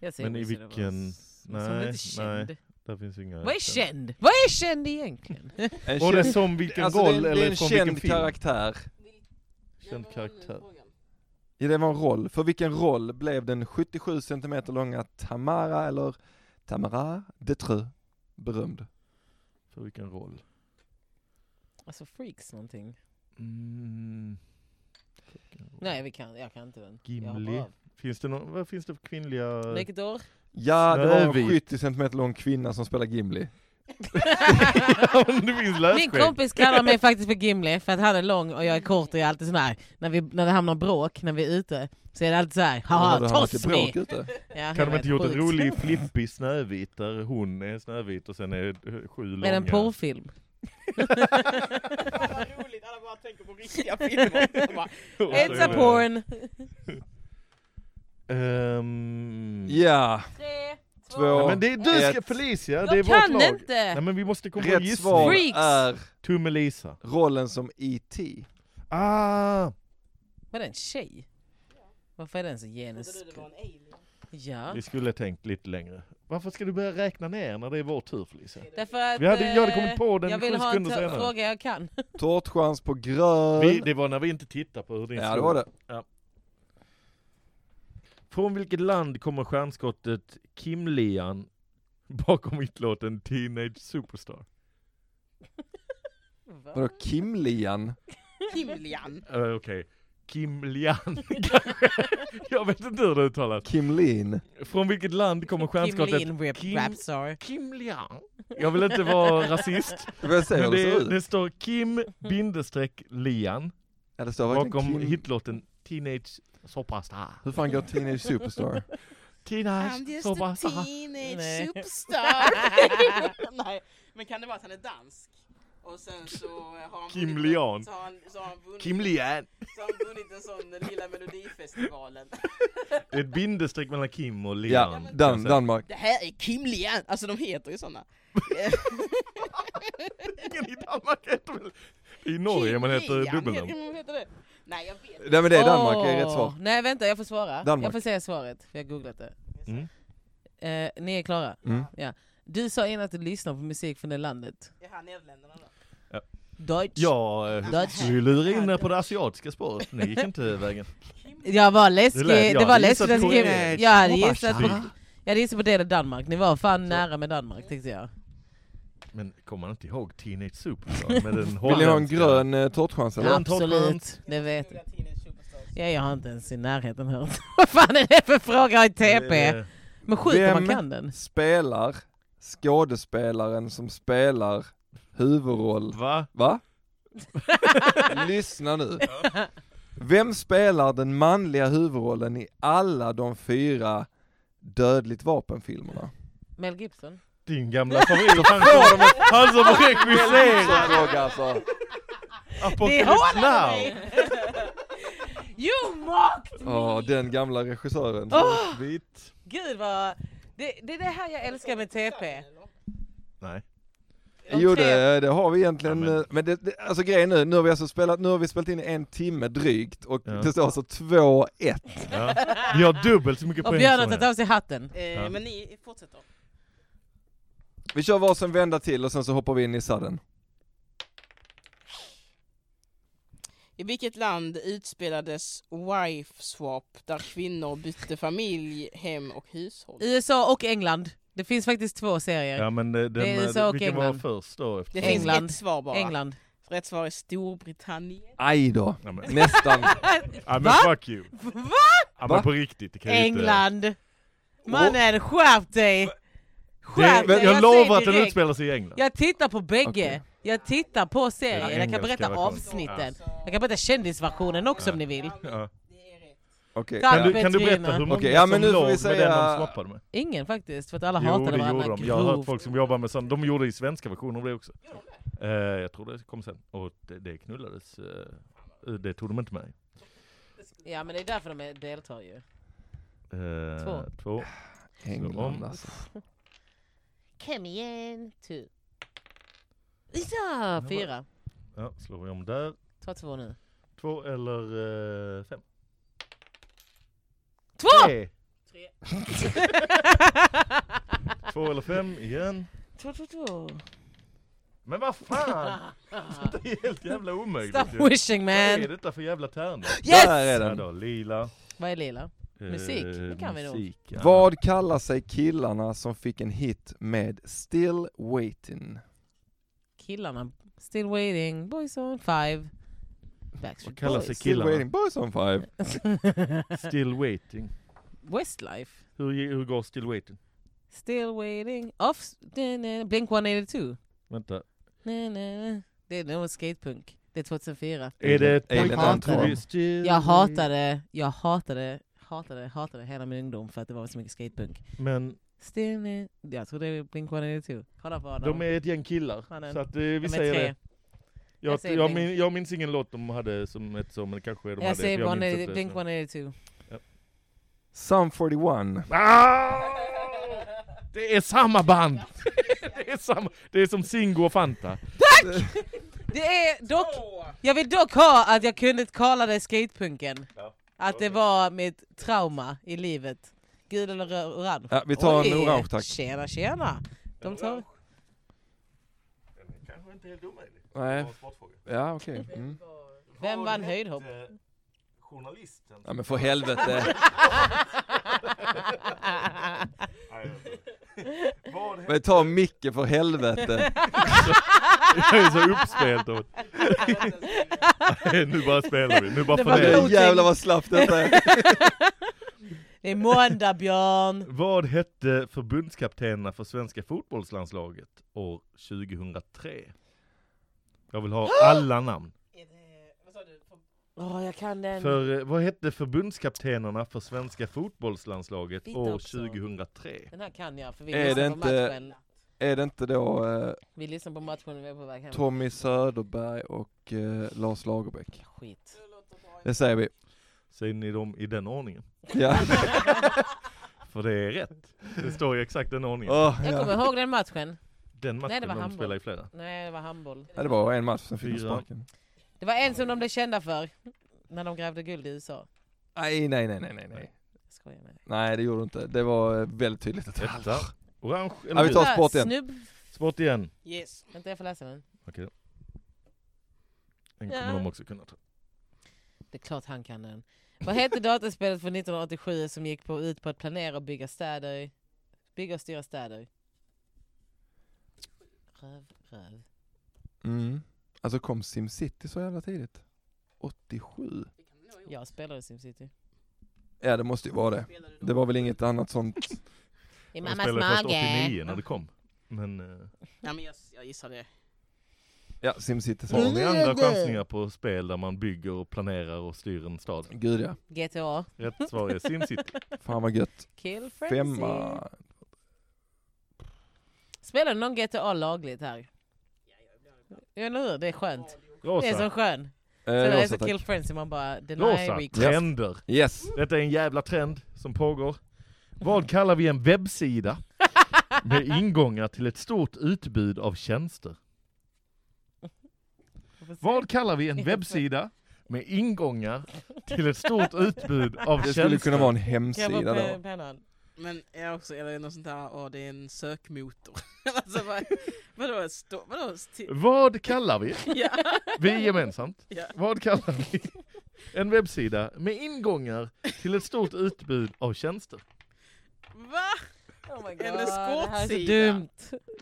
Jag säger Men i Wizard of vilken- Oz. Men som nej, inte är känd. Där finns inga... Vad är känd? Vad är känd egentligen? En Och det är känd- som vilken alltså, roll det är, en- det är eller en från känd vilken film? karaktär. Känd karaktär. Ja, det var en roll. För vilken roll blev den 77 centimeter långa Tamara eller Tamara Detreux berömd? För vilken roll? alltså Freaks någonting. Mm. Nej, vi kan, jag kan inte den. Jag Gimli. hoppar av. Finns det någon, vad finns det för kvinnliga... Vilket år? Ja, det var en Snövit. 70 centimeter lång kvinna som spelar Gimli. Ja, men det finns Min lösskägg. kompis kallar mig faktiskt för Gimli för att han är lång och jag är kort och jag är alltid sån här. När, vi, när det hamnar bråk när vi är ute så är det alltid så här. Har du haha hamnat i bråk Tosmi! Mm. ute? Ja, jag Kan de vet, inte gjort en sjukt. rolig flippig Snövit där hon är Snövit och sen är eh, sju långa? Är det en porrfilm? Vad roligt, alla bara tänker på riktiga filmer. De bara, Och så är It's a det- porn! Ehm, Ja, Tre, två, nej, två. men det är du ska Ett. Felicia, det är Jag vårt kan lag. inte! Nej men vi måste komma på en Rätt gissning. svar Freaks. är Tummelisa. rollen som E E.T. Ah! Var det en tjej? Varför är den så genus... trodde du det var en alien? Ja. Vi skulle ha tänkt lite längre. Varför ska du börja räkna ner när det är vår tur Felicia? Därför att, Vi hade, jag hade eh, kommit på den Jag sju vill ha en sekunder t- senare. fråga jag kan. Tårtchans på grön. Vi, det var när vi inte tittade på hur din ja, slog. det var det. Från vilket land kommer stjärnskottet Kimlian bakom hitlåten Teenage Superstar? Vadå, Kimlian? Kimlian. Eh, Okej, Kimlian kanske? Jag vet inte hur det uttalas. Kimlin? Från vilket land kommer stjärnskottet Kim Lin rap, Kim- rap sorry. Kimlian? Jag vill inte vara rasist, Jag vill se hur men det ser det, ut. det står Kim bindestreck Lian Ja, det står verkligen bakom Kim... hitlåten Teenage Superstar. Hur fan går Teenage Superstar? I'm Teenage just a Superstar. teenage Nej. superstar. Nej, men kan det vara att han är dansk? Och sen så eh, har han Kim vunnit- Lian. Så har han, så har han vunnit, Kimlian. så har han vunnit en sån lilla melodifestivalen. Det är ett bindestreck mellan Kim och Lian. Ja, kan jag Dan säga. Danmark. Det här är Kim Lian! Alltså de heter ju såna. Ingen i Danmark heter väl... I Norge man heter Lian, dubbelnamn. heter- heter det? Nej jag vet Nej men det är Danmark, det är rätt Åh, svar. Nej vänta, jag får svara. Danmark. Jag får säga svaret, för jag har googlat det. Mm. Eh, ni är klara? Mm. Ja. Du sa innan att du lyssnar på musik från det landet. inte. Är han Nederländerna då? Deutsch. Ja, eh, Dutch. vi lurar in er på det asiatiska spåret. Ni gick inte vägen. Jag var läskig, Det lät- det jag var hade läskigt gissat att skriva. på- Jag hade Hoppas gissat på, jag. jag hade gissat på det där Danmark, ni var fan nära med Danmark tyckte jag. Men kommer man inte ihåg Teenage Superstar med den Vill ni ha en holländska- grön eh, tårtchans eller? Ja. en topp skönt. Absolut, det vet jag. Googla Teenage Superstars. Ja, jag har inte ens i närheten hört. Vad fan är det för fråga i TP? Eh, Men sjukt om man Vem- kan den. Spelar skådespelaren som spelar huvudroll. Va? Va? Lyssna nu. Vem spelar den manliga huvudrollen i alla de fyra Dödligt vapenfilmerna? Mel Gibson? Din gamla favorit. Han, som- han som regisserade Fråga alltså. Det Apocalypse hånar Now. mig! You mocked me! Ja, den gamla regissören. Vitt. Gud vad... Det, det är det här jag älskar med TP. Nej. Om Jo tre- det, det har vi egentligen, Ja, men- eh, men det, det, alltså grejen nu, nu har vi alltså spelat, nu har vi spelat in en timme drygt och Ja. det står alltså 2-1. Ja. Vi har dubbelt så mycket Och poäng Björn har som tagit er. av sig hatten. Eh, Ja. Men ni fortsätter. Vi kör varsin vända till och sen så hoppar vi in i sadden. I vilket land utspelades wife swap där kvinnor bytte familj, hem och hushåll? USA och England. Det finns faktiskt två serier. Ja men eh, Det är den, USA eh, och vilken var England. först då? Efter Det det? finns England. ett svar bara. England. Rätt svar är Storbritannien. Aj då, Ja, men, nästan. ja, men Va? fuck you! Va? Ja, Va? men på riktigt, det kan ju inte... England! Mannen, skärp dig! Skärp Det, dig! jag säger lovar att den direkt. utspelar sig i England. Jag tittar på bägge. Okej. Jag tittar på Den serien, jag kan engelska berätta versionen. avsnitten. Jag kan berätta kändisversionen också om ni vill. Ja. Okej, Tack. Kan, ja. du, kan du berätta hur många Okej, ja, men som nu får låg vi med den säga- de swappade med? Ingen faktiskt, för att alla Jo, hatade det gjorde varandra de. Jag har hört grovt. folk som jobbar med sånt. De gjorde i svenska versioner av det också. Eh, jag tror det kom sen. Och det, det knullades. eh, det tog de inte med. Ja men det är därför de är- deltar ju. Eh, Två. två. England alltså. Kom igen, tu. Ja, fyra. Ja, slår vi om där. Ta två nu. Två eller eh, fem? Två! Tre. Två eller fem igen. Två, två, två. Men vad fan! Det är helt jävla omöjligt ju. Stop wishing Vad är man! detta för jävla tärnor? Där är Ja den. då, lila. Vad är lila? eh, Musik, det kan vi nog. musik, ja. Vad kallar sig killarna som fick en hit med Still Waiting? Killarna. Still waiting, boys on five. Vad Backstreet kallar sig Boys. Still Killarna. Waiting Boys on Five. Still waiting. Westlife. Hur, hur går still waiting? Still waiting. Off... na, na, Blink 182. Vänta. Na, na, na. Det är nog skatepunk. Det är 2004. Är det ett Alien hatar pojkband? det. Still Jag hatade, jag hatade, hatade, hatade hela min ungdom för att det var så mycket skatepunk. Men Still na- Jag tror det är Blink 182. Kolla på honom. de är ett gäng killar. Mannen. Så att, eh, vi De är säger tre. det. Jag, Jag säger jag, Blink. min, jag minns ingen låt de hade som ett så, men det kanske de hade. Jag för säger minns 180 inte Blink så. 182. Sum 41. Ah! Det är samma band! Det är, samma, det är som Singo och Fanta. Det är dock, jag vill dock ha att jag kunde kalla det skatepunken. Att det var mitt trauma i livet. Gul eller rö- orange? Ja, vi tar en Oj, orange tack. Tjena tjena! De tar... Kanske inte helt omöjligt. Nej, ja okej. Mm. Vem vann höjdhopp? Journalisten. Ja men för helvete. Men ta Micke för helvete. Jag är så uppspelt. av- Nej, nu bara spelar vi. Nu bara Det var förnedrar vi. blod. Jävlar vad slappt detta är. Det är måndag Björn! Vad hette förbundskaptenerna för svenska fotbollslandslaget år 2003? Jag vill ha alla namn. Åh jag kan den. För, eh, vad hette förbundskaptenerna för svenska fotbollslandslaget Fitta år också. 2003? Den här kan jag för vi Är lyssnar det på inte- matchen. Är det inte då eh, Vi lyssnar på matchen när vi är på väg hem. Tommy Söderberg och eh, Lars Lagerbäck? Skit. Det säger vi. Säger ni dem i den ordningen? Ja. För det är rätt. Det står i exakt den ordningen. Åh, Jag ja. kommer ihåg den matchen. Den matchen Nej, det var de handboll. spelade i flera. Nej det var handboll. Ja, det var en match, sen fick de Fyra. sparken. Det var en som de blev kända för. När de grävde guld i USA. Nej, nej, nej, nej, nej, nej. Jag skojar med dig. Nej, det gjorde du inte. Det var eh, väldigt tydligt att det var Etta. Orange Ja, eller vi gul? tar sport igen. Snubb... Sport igen. Yes. Vänta jag får läsa den. Okej. Den kommer Ja. de också kunna ta. Det är klart han kan den. Vad hette dataspelet från 1987 som gick på, ut på att planera och bygga städer? Bygga och styra städer. Röv, röv. Mm. Alltså kom SimCity så jävla tidigt? 87? Jag spelade Simcity. Ja, det måste ju vara det. Det var väl inget annat sånt. I De mammas spelade först mage. 89 när det kom. Men... eh, Ja, men jag, jag gissar det. Ja, SimCity. Har Så. ni andra chansningar på spel där man bygger och planerar och styr en stad? Gud ja. GTA. Rätt svar är Eh, SimCity. Fan vad gött. Kill frenzy. Femma. Eh, Spelar någon GTA lagligt här? Eller hur? Det är skönt. Det är så Rosa. skönt. Så Eh, det är rosa, så tack. kill frenzy man bara deny Rosa. recall. Trender. Yes. Detta är en jävla trend som pågår. Vad kallar vi en webbsida med ingångar till ett stort utbud av tjänster. Vad kallar vi en webbsida med ingångar till ett stort utbud av Det tjänster? skulle kunna vara en Kan hemsida jag vara då. pe- pennan? Men jag också, eller något sånt där, åh det är en sökmotor. alltså, vad, vadå, stå, vadå, sti, Vad kallar vi, ja, vi gemensamt, ja. vad kallar vi en webbsida med ingångar till ett stort utbud av tjänster? Va? Oh my Eller God, Det här är så skåpsida. dumt.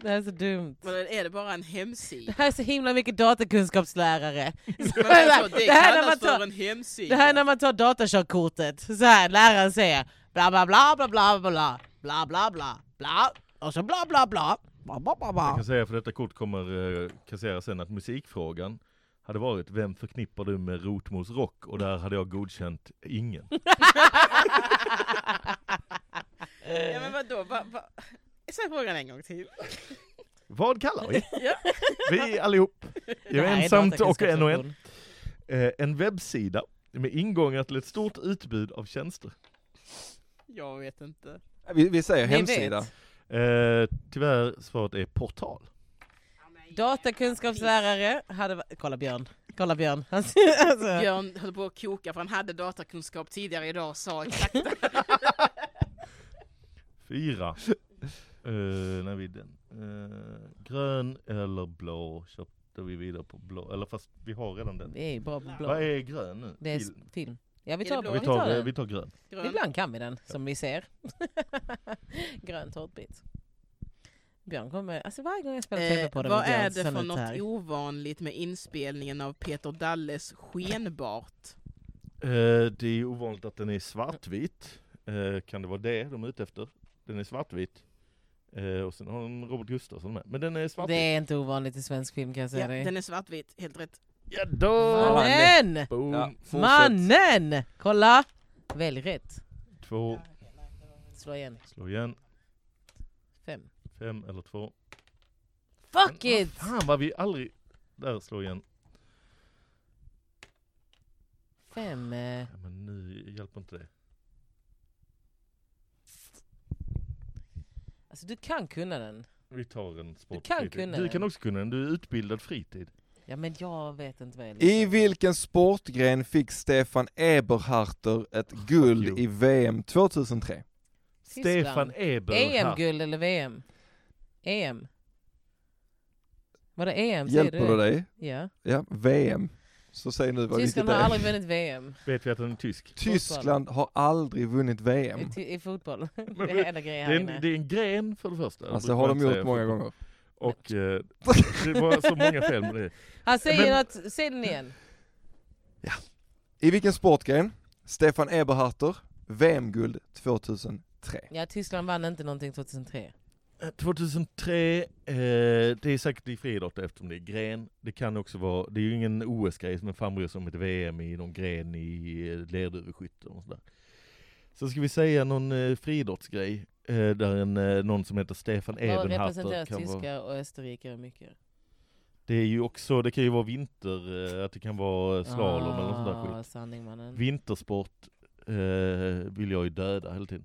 Det här är så dumt. Vadå, är det bara en Det hemsida? här är så himla mycket datakunskapslärare. Men alltså, det, Det här när kallas man tar- för en hemsida. Det här är när man tar datakörkortet. Så här, läraren säger bla bla bla bla bla bla bla bla bla bla och så bla bla bla. bla, bla, bla, Jag bla. kan säga för detta kort kommer eh, kassera sen att musikfrågan hade varit Vem förknippar du med Rotmos rock? Och där hade jag godkänt ingen. Ja men vadå, va, va? Säg frågan en gång till. Vad kallar vi? Ja. Vi allihop, Det här är gemensamt och en och en. datakunskapslektion. Eh, en webbsida med ingångar till ett stort utbud av tjänster. Jag vet inte. Vi, vi säger Ni hemsida. vet. Eh, tyvärr svaret är portal. Datakunskapslärare hade va- Kolla Björn. Kolla Björn. Han- alltså. Björn höll på att koka för han hade datakunskap tidigare idag och sa exakt Fyra. Eh, när vi den. Eh, grön eller blå köpte vi vidare på blå, eller fast vi har redan den. Vi är ju bra på Vad blå. är grön nu? Det är s- Bild. film. Ja vi Är tar, det blå? vi vi, tar, tar eh, den. vi tar grön. grön. Ibland kan vi den, som ni ser. Grön tårtbit. Björn kommer... Alltså varje gång jag spelar tv Eh, på den vad med Björn är så det för han något här. ovanligt med inspelningen av Peter Dalles Skenbart? Eh, det är ovanligt att den är svartvit. Eh, kan det vara det de är ute efter? Den är svartvit. Eh, och sen har den Robert Gustafsson med. Men den är Det svartvit. är inte ovanligt i svensk film kan jag säga Ja, dig. den är svartvit, helt rätt. Ja då! Mannen! Boom! Ja, fortsätt. Mannen! Kolla! Välj rätt. Två, Slå igen. slå igen. Fem. Fem eller två. Fuck Men, it! Fan vad vi aldrig... Där, slå igen. Fem. eh, Ja, men nu hjälper inte det. Alltså du kan kunna den. Vi tar en sport. kan fritid. kunna du den. kan också kunna den, du är utbildad fritid. Ja men jag vet inte vad jag I vilken sportgren fick Stefan Eberharter ett guld i VM 2003? Tyskland. Stefan Eber. EM-guld eller E VM? EM. Var det EM? E Säger Hjälper du det? dig? Ja. Ja, VM. Så säg nu vad vilket Tyskland det har aldrig är. vunnit VM Vet vi att den är tysk? Tyskland har aldrig vunnit VM. i, ty- i fotboll. det vet- är enda grejen här Det är, en, inne. det är en gren för det första. Alltså det brukar har man de inte gjort säga. många gånger. Och eh, det var så många fel med det. Han säger Men- något, säg den igen. I vilken sportgren? Stefan Eberharter, VM-guld 2003. Ja, Tyskland vann inte någonting 2003. 2003, eh, det är säkert i friidrott eftersom det är gren. Det kan också vara, det är ju ingen OS-grej men fan bryr sig om ett VM i någon gren i eh, lerduveskytte och sådär. Så ska vi säga någon eh, friidrottsgrej eh, där en, eh, någon som heter Stefan Vad representerar Ebenhatter kan vara. tyskar och österrikare mycket? Det är ju också, det kan ju vara vinter, eh, att det kan vara slalom eller något sånt där skit. Ah, sanning mannen. Vintersport eh, vill jag ju döda hela tiden.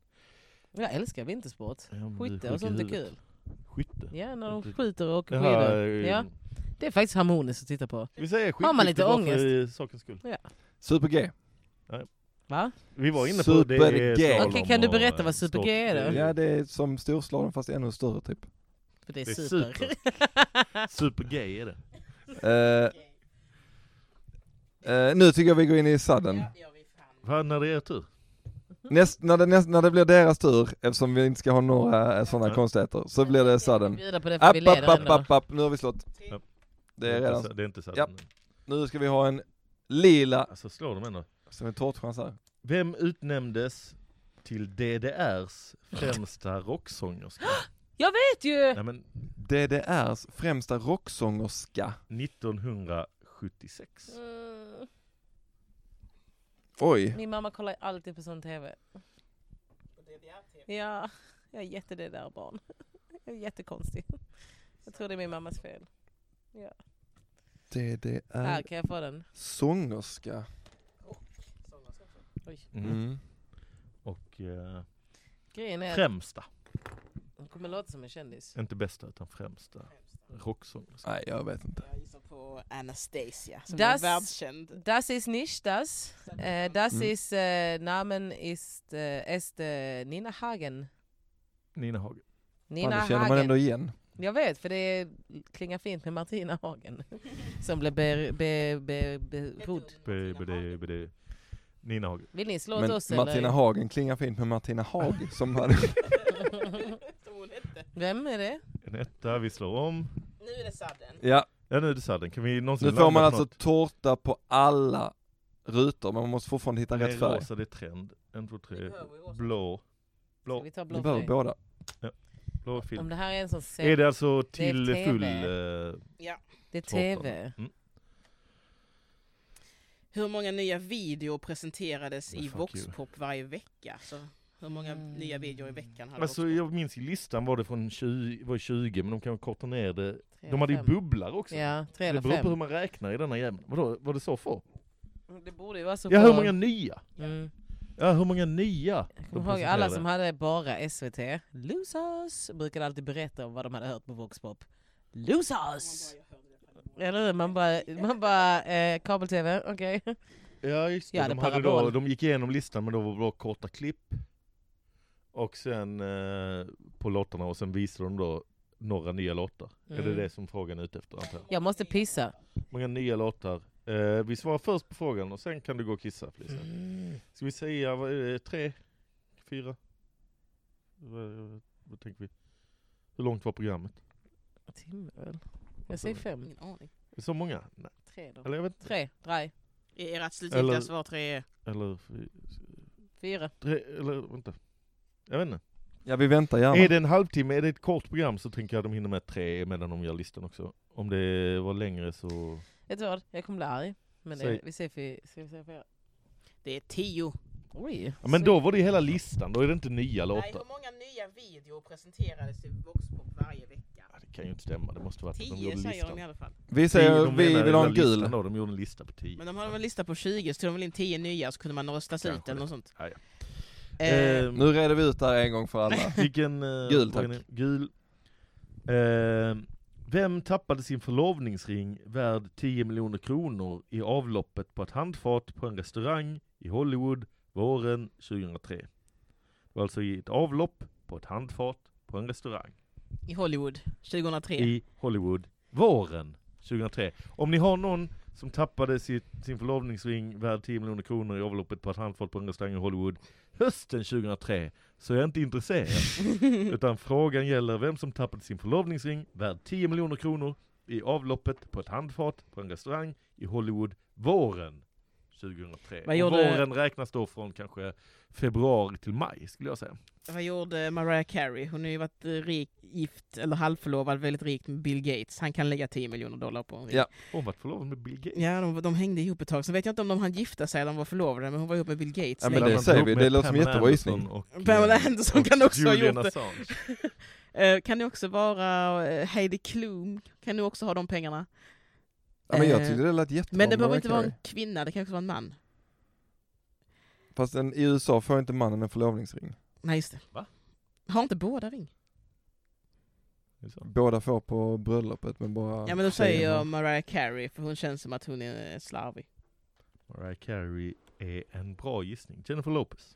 Jag älskar vintersport. Ja, men du är Skytte sjuk och i sånt är huvudet. kul. Skytte? Ja, när Det- de skjuter och åker Jaha, skidor. eh, Ja, det är faktiskt harmoniskt att titta på. Vi säger skitskytte Har man lite bara ångest? för eh, sakens skull. Super-G. Va? Vi var inne på Super det. är G. slalom Okej, kan du och, berätta eh, vad Super G är stort- då? Ja, det är som storslalom fast ännu större typ. För det är, Det är super. super. Super G är det. Eh, eh, nu tycker jag vi går in i sadden. Vad när det är tur? Näst, när, det, näst, när det blir deras tur, eftersom vi inte ska ha några sådana Ja. konstigheter, så blir det Vi sadden. bjuder på det för App, vi leder app, app, ändå. app, app, nu har vi slått. Ja. Det är redan. inte, det är inte sant. Ja. Nu ska vi ha en lila, Alltså slår de ändå. som en tårtchans här. Vem utnämndes till DDRs främsta rocksångerska? Jag vet ju! Nej men DDRs främsta rocksångerska. 1976. Mm. Oj. Min mamma kollar alltid på sån tv. Ja, jag är jätte det där barn. Jag är jättekonstig. Jag tror det är min mammas fel. Här, DDR kan jag få den? sångerska. Oj. Mm. Mm. Och eh, Grejen är... främsta. kommer låta som en kändis. Inte bästa utan främsta rocksångerskan. Nej, jag vet inte. Jag gissar på Anastasia som Das- är världskänd. Das ist nicht das. Äh, das Mm. Mhm. ist, äh, Namen ist, äh, ist äh, Nina Hagen. Nina Hagen. Nina Fan, det känner man Hagen. ändå igen. Jag vet, för det klingar fint med Martina Hagen. Som blev berodd. Be, be, berodd. Baby, baby, baby. Nina Hagen. Vill ni slå åt Men oss Martina eller? Hagen klingar fint med Martina Haag som hade... Som hon hette. Vem är det? En etta, vi slår om. Nu är det sadden. Ja, Ja nu är det sadden, kan vi någonsin nu får man landa alltså på något? tårta på alla rutor, men man måste fortfarande hitta Nej, rätt färg. rosa det är trend. En, två, tre. behöver rosa. Blå. Ska Blå, vi tar Ni behöver blå båda. blå Om film. det här är en sån Är serie, det alltså till TV. full... eh, det är tårta? tv. Mm. Hur många nya videor presenterades Men i fuck you. Voxpop varje vecka? Så hur många Mm. nya videor i veckan hade Alltså Voxpop? jag minns i listan var det från 20, var 20 men de kan korta ner det. De hade ju bubblar också. Ja, tre Det eller beror på hur fem. man räknar i denna jämn. Vadå, var det så få? Det borde ju vara så Ja, på- hur många nya? Mm. Ja, hur många nya? Jag de kommer ihåg alla presenterade? som hade bara SVT. Losers! Brukade alltid berätta om vad de hade hört på Voxpop. Losers! Eller hur? Man bara, man bara eh, kabel-tv, okej. Ja, just det. Ja, de, det hade Parabol. då, de gick igenom listan men då var det bara korta klipp. Och sen eh, på låtarna och sen visade de då några nya låtar. Mm. Är det det som frågan är ute efter antar jag? Jag måste pissa. Många nya låtar. Eh, vi svarar först på frågan och sen kan du gå och kissa Felicia. Mm. Ska vi säga, vad är det, tre? Fyra? Vad, vad, vad tänker vi? Hur långt var programmet? En timme väl? Jag säger fem. Ingen aning. Är det Så många? Nej. Tre då. Eller jag vet inte. Tre, draj, Ert slutgiltiga Eller- svar tre Eller, fyra. tre, eller vänta. Jag vet inte. Ja, vi väntar gärna. Är det en halvtimme, är det ett kort program så tänker jag att de hinner med tre medan de gör listan också. Om det var längre så... Vet du vad? Jag kommer bli arg. Men det, Säg. vi säger fy- ska vi säga fyra. Det är tio. Oj. Ja, men då var det hela listan, då är det inte nya låtar. många nya videor presenterades i Voxpop varje vecka? Ja, det kan ju inte stämma, det måste vara att de gjorde Tio säger listan. de i alla fall. Vi säger de vi menar vill ha en hela listan gul. Då, de gjorde en lista på tio. Men de hade väl en lista på 20 så tog de väl in 10 nya så kunde man röstas Kanske ut eller det. något sånt. Ja, ja. Eh, Ehm, Nu reder vi ut det här en gång för alla. Vilken... eh, Gul, fråga tack. ni- Gul. Ehm, vem tappade sin förlovningsring värd 10 miljoner kronor i avloppet på ett handfat på en restaurang i Hollywood våren 2003? Det var alltså i ett avlopp på ett handfat på en restaurang I Hollywood 2003. i Hollywood våren 2003. Om ni har någon som tappade sitt, sin förlovningsring värd 10 miljoner kronor i avloppet på ett handfat på en restaurang i Hollywood hösten 2003 så är jag inte intresserad. Utan frågan gäller vem som tappade sin förlovningsring värd 10 miljoner kronor i avloppet på ett handfat på en restaurang i Hollywood våren 2003. Vad Och gjorde- Våren räknas då från kanske februari till maj skulle jag säga. Vad gjorde Mariah Carey? Hon har ju varit eh, rik, gift, eller halvförlovad, väldigt rik med Bill Gates. Han kan lägga 10 miljoner dollar på en ring. Ja. Hon var förlovad med Bill Gates. Ja, de, de hängde ihop ett tag. Sen vet jag inte om de hann gifta sig eller om de var förlovade, men hon var ihop med Bill Gates Ja, men länge. Bland det annat säger ihop vi. med Det låter som Pamela jättebra gissning. Anderson och, Pamela eh, Anderson och kan också ha Julian gjort det. Assange. Eh, Kan det också vara eh, Heidi Klum? Kan du också ha de pengarna? Ja, men jag Eh, tyckte det lät jättebra. Men det med behöver Mariah inte vara en Carey. kvinna, det kan också vara en man. Fast en, i USA får inte mannen en förlovningsring. Nej, just det. Va? Har inte båda ring? Det är så. Båda får på bröllopet men bara Ja men tjejen då säger har- jag Mariah Carey, för hon känns som att hon är eh, slarvig. Mariah Carey är en bra gissning. Jennifer Lopez.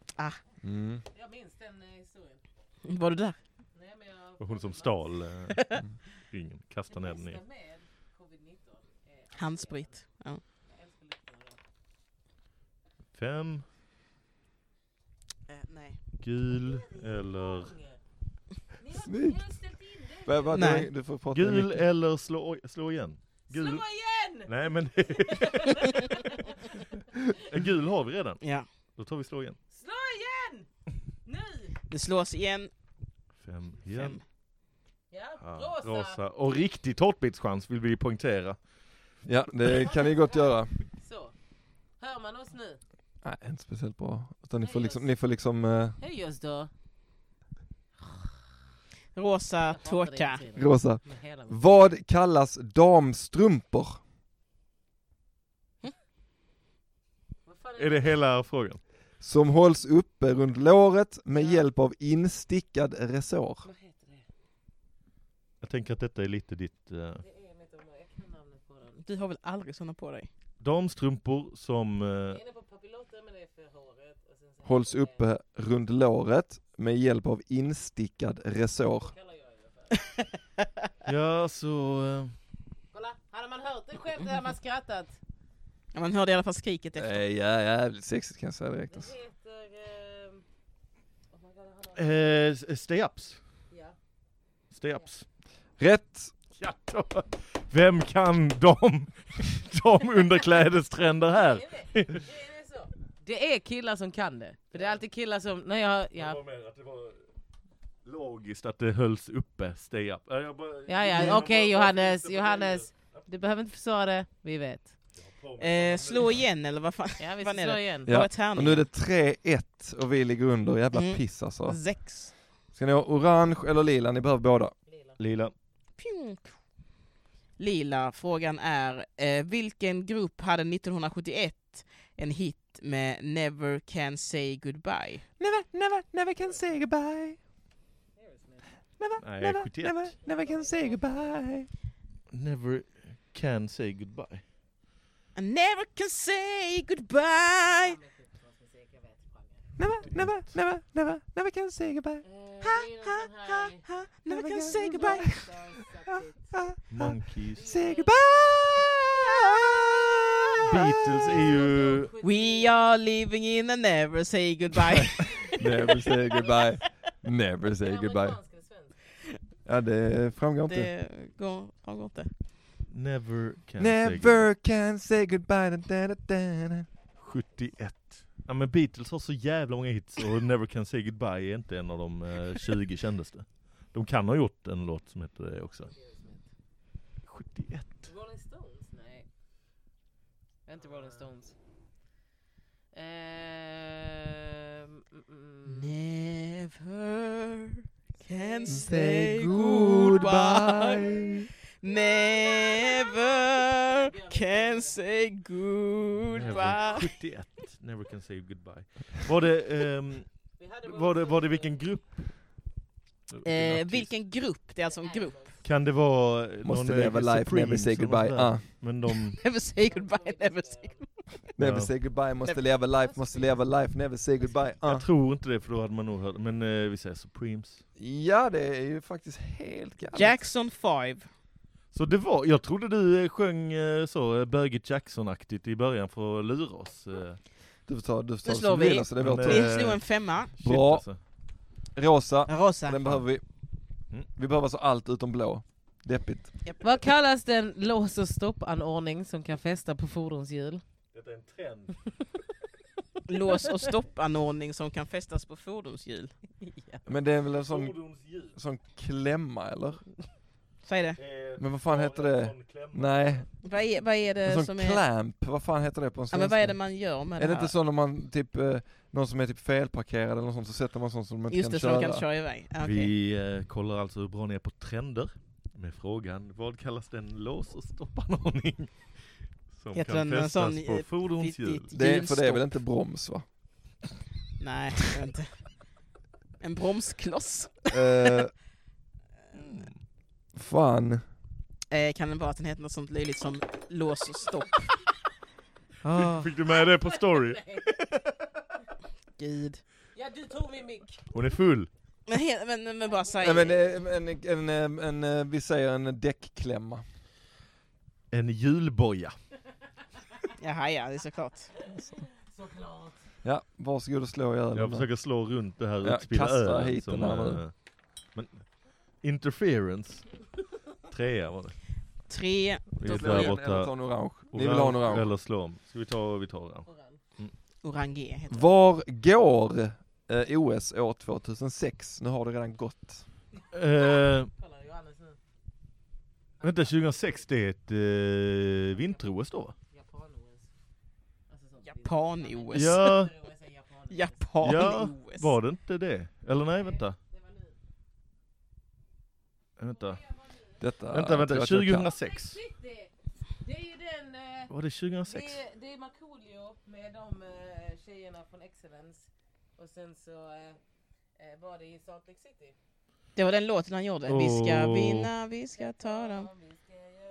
Mm. Jag minns den historien. Var du där? Nej, men jag... Och hon som stal eh, Mm. ringen, kastade ner den i. Handsprit. Ja. Fem, nej. gul eller... Snyggt! Va- va- Nej. Du, du får prata med Gul Micke. eller slå, slå igen? Gul. Slå igen! Nej men... en gul har vi redan. Ja. Då tar vi slå igen. Slå igen! Nu! Det slås igen. Fem Fem. igen. Ja, Ja, rosa. Mm. Och riktig tårtbitschans vill vi poängtera. Ja, det kan ni gott göra. Så. Hör man oss nu? Nej, inte speciellt bra. Utan ni Nej, får jag- liksom, ni får liksom eh, Höj oss då. Rosa Jag hatar dig, tårta. Petrina. Rosa. Med hela mitt- Vad kallas damstrumpor? Vad fan Är det hela frågan? Som hålls uppe runt låret med Ja. hjälp av instickad resår. Vad heter det? tänker att detta är lite ditt... Eh, Du har väl aldrig såna på dig? damstrumpor som... Eh, Hålls uppe runt låret med hjälp av instickad resår. ja, så... Eh, Kolla, hade man hört det skämtet hade man skrattat. Ja, man hörde i alla fall skriket efter. Nej, Eh, ja, jävligt sexigt kan jag säga direkt. Det Alltså. heter... Eh... Oh my God, han har- eh, stay-ups. ja. Stay-ups. Rätt! Ja, då. Vem kan de, de underklädestrender här? Det är det så. Det är killar som kan det. För det är alltid killar som... När jag, ja. mer att det var logiskt att det hölls uppe, stay up. Ja, Ja, ja, okej Johannes, Johannes. Du behöver inte försvara det, vi vet. Eh, slå igen eller vad fan? Ja, vi Vad är slår det? igen. Det var Ja. ett tärning. Och nu är det 3-1 och vi ligger under, jävla Mm. piss alltså. Sex. Ska ni ha orange eller lila? Ni behöver båda. Lila. Pjunk. Lila, frågan är eh, vilken grupp hade 1971 en hit med Never Can Say Goodbye? Never, never, never can say goodbye. Never, Nej, never, 71. never, never can say goodbye. Never can say goodbye. I never can say goodbye. Never, never, never, never, never can say goodbye. Ha, ha, ha, never can say goodbye. Ah, Monkeys. Say goodbye. Beatles är ju... We are living in a never say goodbye. Never say goodbye. Never say goodbye. Ja, det framgår inte. det går, har gått det. Never can say goodbye. Never can say goodbye. Da, da, da, da. 71. Ja men Beatles har så jävla många hits och Never can say goodbye är inte en av de eh, 20 kändes det. De kan ha gjort en låt som heter det också. 71. Rolling Stones? Nej. Det är inte Rolling Stones. Ehm, mm, mm. Never Say can say goodbye. goodbye. Never can say Never, goodbye. 71. Never can say goodbye. Var det, ehm, Vi hade var det, var det vilken grupp? Vilken Eh, artist? vilken grupp? Det är alltså en grupp. Kan det vara eh, Måste någon leva eh, life, never say som var goodbye. där? Ah. Men de, Never say goodbye, never say goodbye. Never Ja. say goodbye, måste leva life, måste leva life, never say goodbye. Ah. jag tror inte det för då hade man nog hört, men eh, vi säger Supremes. Ja, det är ju faktiskt helt galet. Jackson 5. Så det var, jag trodde du eh, sjöng eh, så eh, bögigt Jackson-aktigt i början för att lura oss. eh. Du får ta, du får ta Nu det slår som du vi. vill, alltså, det är vår Men, tur. eh, Vi slog en femma. Shit, Bra. alltså. Rosa, Rosa. den behöver vi. Mm. Vi behöver alltså allt utom blå. Deppigt. Vad kallas den lås och stoppanordning som kan fästa på fordonshjul? Detta är en trend. Lås och stoppanordning som kan fästas på fordonshjul. Men det är väl en sån, Fordonsljud. sån klämma eller? Säg det. Eh, Men vad fan heter det? Nej, Vad är, vad en är det sån Eh, som är... clamp, vad fan heter det på en Ja, svenska? men vad är det man gör med Är det det här? inte så när man typ, eh, någon som är typ felparkerad eller något sånt så sätter man sånt som man inte Just kan det, så köra? de kan köra iväg. Ah, okej. Vi eh, kollar alltså hur bra ni är på trender med frågan vad kallas den lås och stoppanordning som Heter kan den en fästas sån, på eh, fordonshjul? fittigt? det är, för det är väl Hjulstopp. inte broms va? Nej, jag vet inte. En bromskloss. Eh, fan. Eh, kan det vara att den heter något sånt löjligt som lås och stopp? Ah. Fick du med det på story? Gud. Ja, du tog min mick. Hon är full. Men, he- men, men bara säg... Nej, men eh, en, en, en, en, eh, vi säger en däckklämma. En julboja. Jaha, ja, det är såklart. Såklart. Ja, varsågod och slå i ölen. Jag försöker slå runt det här Ja, utspillda kasta ölen hit som, den här nu. eh, men, Interference. Trea var det. Tre. Vi Då är slår där jag Eller ta borta. en orange. Ni vill ha en orange. Eller slå om. Ska vi ta, vi tar orange. Orange heter det. Var går eh, OS år 2006? Nu har det redan gått. Eh, Kolla Johannes nu. vänta, 2006 det är ett eh, vinter-OS då va? Japan-OS. Alltså sånt. Japan-OS. Ja, OS är Japan. Japan-OS. Var det inte det? Eller nej, vänta. Vänta, Detta vänta, vänta. jag tror jag kan. 2006. Det är ju den... eh, Var det 2006? Det, är- det är Markoolio med de eh, tjejerna från Excellence. Och sen så eh, eh, var det i Salt Lake City. Det var den låten han gjorde. Vi ska Åh. vinna, vi ska ta dem.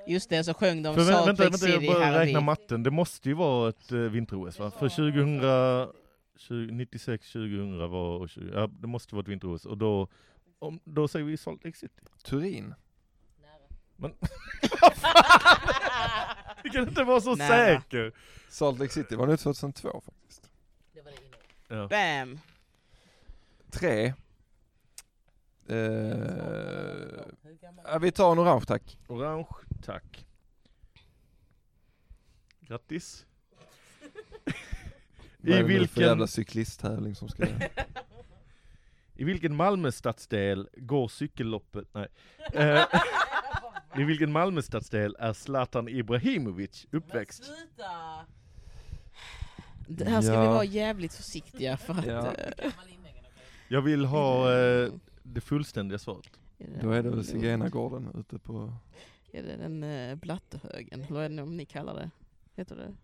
Just det, så sjöng de För vä- Salt vänta, Lake vänta, jag City bara här och räknar dit. matten. Det måste ju vara ett eh, vinter-OS va? För 1996, 2000 var... och 20, ja, det måste vara ett vinter-OS. Och då, om, då säger vi Salt Lake City. Turin. Du kan inte vara så Nära. säker! Salt Lake City var nu 2002 faktiskt. Ja. Bam! Tre. Eh, ja, vi tar en orange tack. Orange, tack. Grattis. Vad är det nu för vilken- jävla cyklisttävling som ska... I vilken Malmö stadsdel går cykelloppet... Nej. Eh, I vilken Malmö stadsdel är Zlatan Ibrahimovic uppväxt? Sluta! Det här ska Ja. vi vara jävligt försiktiga för att... Ja. eh, Jag vill ha eh, det fullständiga svaret. Då är det väl Zigenargården ute på... Är det den eh, blattehögen? Eller vad är det om ni kallar det? Heter det?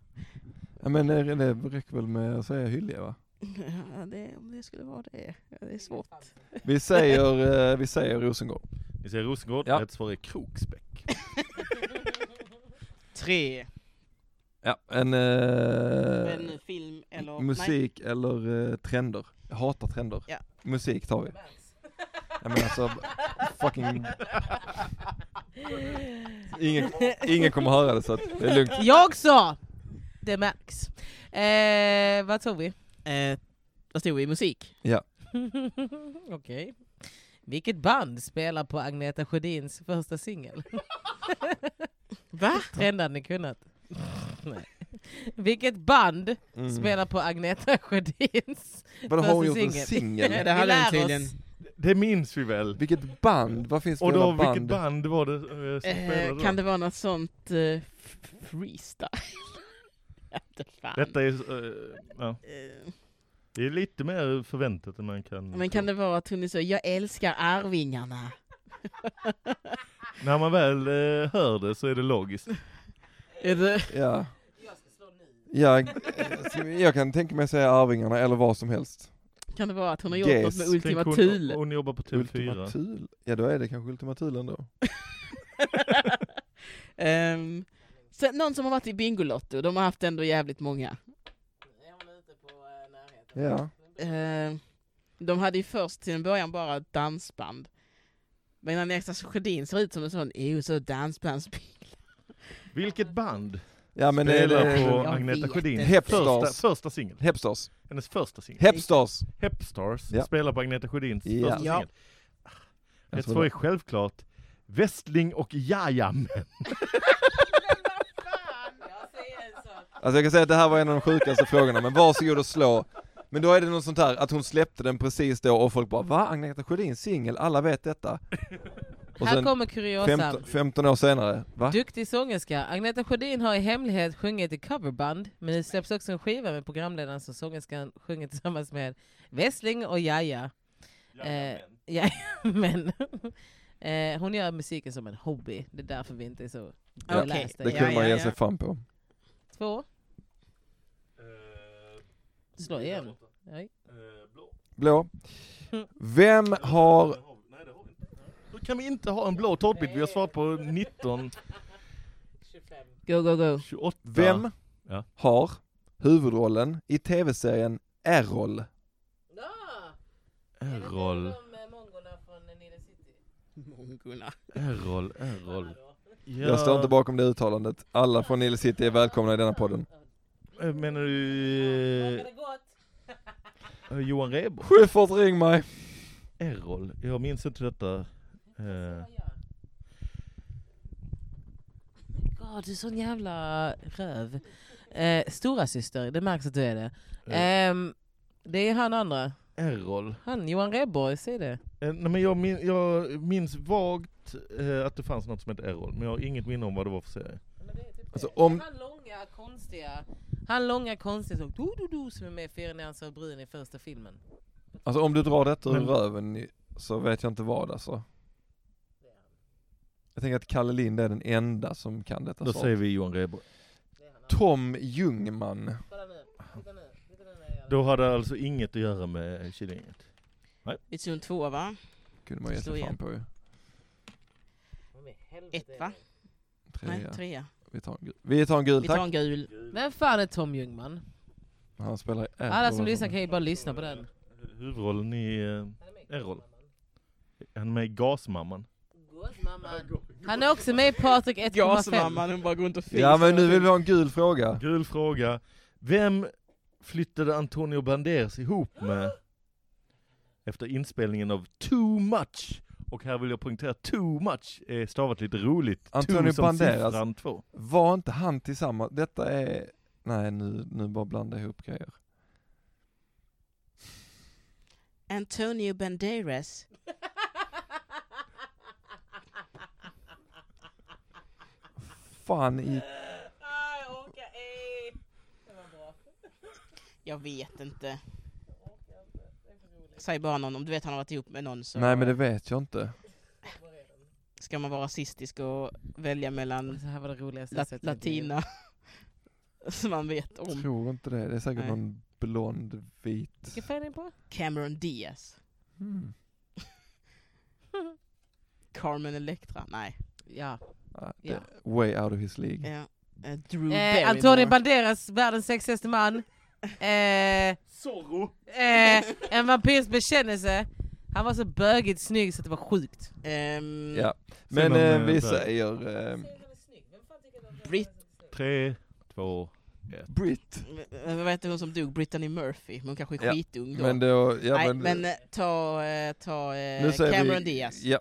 Ja men det det räcker väl med att säga Hyllie va? Ja, det om det skulle vara det. Ja, Det är svårt. Vi säger, eh, vi säger Rosengård. Ni säger Rosengård, Ja. rätt svar är Kroksbäck. Tre. Ja. En... eh, En film eller... Musik eller eh, trender. Jag hatar trender. Ja. Musik tar vi. Jag menar alltså, fucking... Ingen, ingen kommer höra det så att det är lugnt. Jag sa! Det märks. Eh, vad tror vi? Nej. Eh, vad stod vi? Musik? Okej. Vilket band spelar på Agneta Sjödins första singel? Va? Trendar ni kunnat? Nej. Vilket band Mm. spelar på Agneta Sjödins? Vadå, har hon första gjort en singel. Ja, singel? det Vi hade lär den oss. tydligen. Det minns vi väl? Vilket band? Vad finns det Och för då, jävla vilket band? band var det eh, som spelade Eh, då? kan det vara något sånt eh, f- freestyle? Jag vet inte fan. Detta är, eh, ja, Eh, det är lite mer förväntat än man kan Men kan det vara att hon är så, jag älskar Arvingarna? När man väl eh, hör det så är det logiskt. Är det... Ja. Ja, eh, jag kan tänka mig säga Arvingarna eller vad som helst. Kan det vara att hon har gjort Yes. något med Ultima Tänk Thule? Hon, hon jobbar på Thule 4. Ultima Thul? Ja då är det kanske Ultima Thul ändå. Ehm, sen, någon som har varit i Bingolotto, de har haft ändå jävligt många. Ja. Ehm, de hade ju först till en början bara ett dansband. Men när Nektar Sjödin ser ut som en sån, jo så dansbandsbingla. Vilket band Ja men det spelar på är Jag Agneta vet Sjödin? inte. Hepstars. Första, första singel. Hepstars. Hennes första singel. Hepstars! Hepstars Ja. spelar på Agneta Sjödins Ja. första Ja. singel. Jag Rätt tror svar det. är självklart Westling och Eh. Jajam. Alltså jag kan säga att det här var en av de sjukaste frågorna, men varsågod och slå. Men då är det något sånt här att hon släppte den precis då och folk bara va? Agneta Sjödin singel, alla vet detta. Och Här sen kommer kuriosan. 15, 15 år senare, va? Duktig sångerska. Agneta Sjödin har i hemlighet sjungit i coverband, men nu släpps också en skiva med programledaren som sångerskan sjunger tillsammans med Wessling och Jaja. Eh, Jajamän. Eh, hon gör musiken som en hobby, det är därför vi inte är så Okej. belästa. Det Ja, kunde ja. man ge ja. sig fan på. Två, slå igen. Oj. Eh, Blå. Vem har, Hur kan vi inte ha en blå tårtbit? Vi har svarat på 19, Go, go, go. 28. vem Ja. har huvudrollen i tv-serien Errol? Errol, Mongorna. Errol, Errol. Ja, Jag står inte bakom det uttalandet. Alla från Nile City är välkomna i denna podden. eh, Menar du eh, eh, Johan Rheborg? Schyffert ring mig! Errol, jag minns inte detta. Eh, God, du är sån jävla röv. Eh, stora syster, det märks att du är det. Eh. Ehm, det är han andra. Errol. Han, Johan Rheborg, säg det. Eh, nej, men jag, min, jag minns vagt eh, att det fanns något som hette Errol, men jag har inget minne om vad det var för serie. Alltså om, typ Han långa, konstiga, han långa, konstiga som, do, do, do, som är med i Fyra nyanser av brun i första filmen. alltså om du drar detta ur Men- röven i- så vet jag inte vad alltså. Jag tänker att Kalle Lind är den enda som kan detta Då svaret. säger vi Johan Rheborg. Tom Ljungman. Då hade alltså inget att göra med Killinget. Vi tog en tvåa va? kunde man ge Slå sig fan igen. på ju. Ett va? Nej, Trea. trea. Vi tar en gul, vi tar en gul Vi tar tack. en gul. Vem fan är Tom Ljungman? Han spelar i Apple, Alla som vad lyssnar fan. kan ju bara lyssna på den. Huvudrollen i eh, en roll. Han är med i Gasmamman. Han är också med i Patrik 1,5. Gasmamman, hon bara går runt och fiser. Ja men nu vill vi ha en gul fråga. Gul fråga. Vem flyttade Antonio Banderas ihop med efter inspelningen av Too Much? Och här vill jag poängtera, too much är stavat lite roligt. Antonio too som Banderas. siffran två. Var inte han tillsammans, detta är, nej nu, nu bara blanda ihop grejer. Antonio Banderas. Fan i, Jag vet inte. Säg bara någon, om du vet han har varit ihop med någon så nej men det vet jag inte. ska man vara rasistisk och välja mellan Det här var det roligaste la jag sett i mitt liv. latina som man vet om. Tror inte det, det är säkert Nej. någon blond, vit. Vilken färg är den på? Cameron Diaz. Mm. Carmen Electra. Nej. Ja. Ja, det- Ja. Way out of his league. Ja. Eh, Drew Eh, Barrymore. Antonio Banderas, världens sexigaste man. Eh, Zorro! eh, en vampyrs bekännelse. Han var så bögigt snygg så det var sjukt. Ehm, Ja. Sen Men om, eh, eh, vi där. säger eh, Brit, Tre, två, Britt. eh, vad heter hon som dog? Brittany Murphy. Men hon kanske är Ja, skitung då. Men då, ja Nej men, men eh, ta, eh, ta eh, nu säger vi, Cameron Diaz. Ja,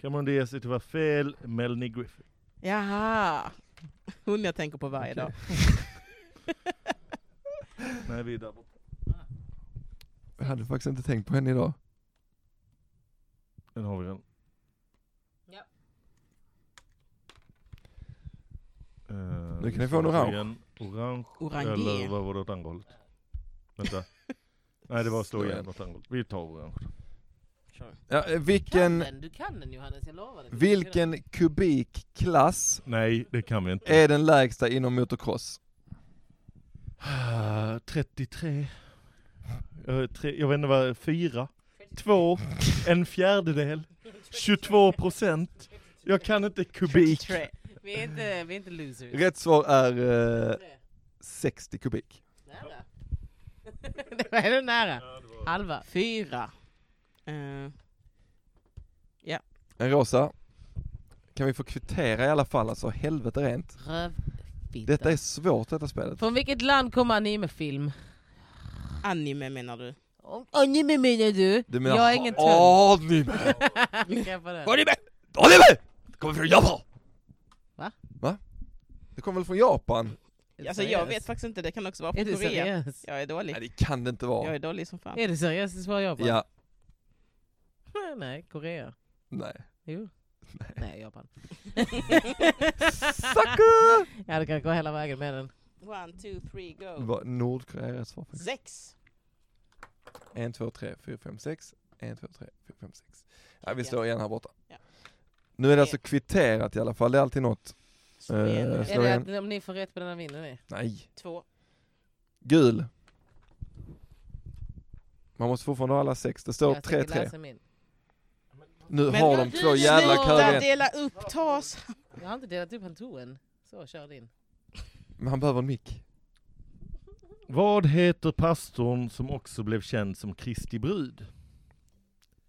Cameron Diaz är tyvärr fel, Melanie Griffith. Jaha. Hon jag tänker på varje dag. Nej, vi är där borta. jag hade faktiskt inte tänkt på henne idag. Den har vi den. Ja. Eh, Nu kan vi ni få ska en ta orange. igen. Orange, eller Orange. vad var det åt andra hållet? Vänta. Nej det var slå Slå igen igen. åt andra hållet. Vi tar orange. Ja, eh, Kan vilken, den, du kan den Johannes, jag lovar dig. vilken kubikklass Nej det kan vi inte. är den lägsta inom motocross? Ah, 33. Eh, tre, jag vet inte vad, fyra? Två? En fjärdedel? 22 procent? Jag kan inte kubik. Tre. Vi är inte, vi är inte losers. Rätt svar är eh, 60 kubik. Nära. det var ändå nära. Halva. Fyra. Eh, En rosa. Kan vi få kvittera i alla fall alltså, helvete rent. Rövfitta. Detta är svårt detta spelet. Från vilket land kommer animefilm? anime menar du? Anime menar du? Du jag är ingen tönt. anime! Kan jag få den? Anime! Anime! Det kommer från Japan! Va? Va? Det kommer väl från Japan? Är du Alltså jag seriös? vet faktiskt inte, det kan också vara Är från du Korea. seriös? Jag är Nej dålig. det kan det inte Jag vara. är dålig som fan. Är du seriös? Det svarar jag på. Ja, Nej, Ah, Korea. nej. Jo. Nej, Japan. Sucker! Ja, du kan gå hela vägen med den. One, two, three, Det go. var Nordkorea är rätt svar faktiskt. Sex. Eh, 1, 2, 3, 4, 5, 6. 1, 2, 3, 4, 5, 6. Ja, vi slår igen här borta. Ja. Nu är det alltså kvitterat i alla fall, det är alltid något. Slå igen. Eh, Är slå det igen. att om ni får rätt på den här vinner ni? Nej. Två. Gul. Man måste fortfarande ha alla sex, det står Jag tänker 3-3. läsa min. Nu Men har vad de du två nu jävla snor köer Sluta igen. dela upp, ta oss. Jag har inte delat upp han tog en. Så, kör din. Men han behöver en mick. Vad heter pastorn som också blev känd som Kristi brud?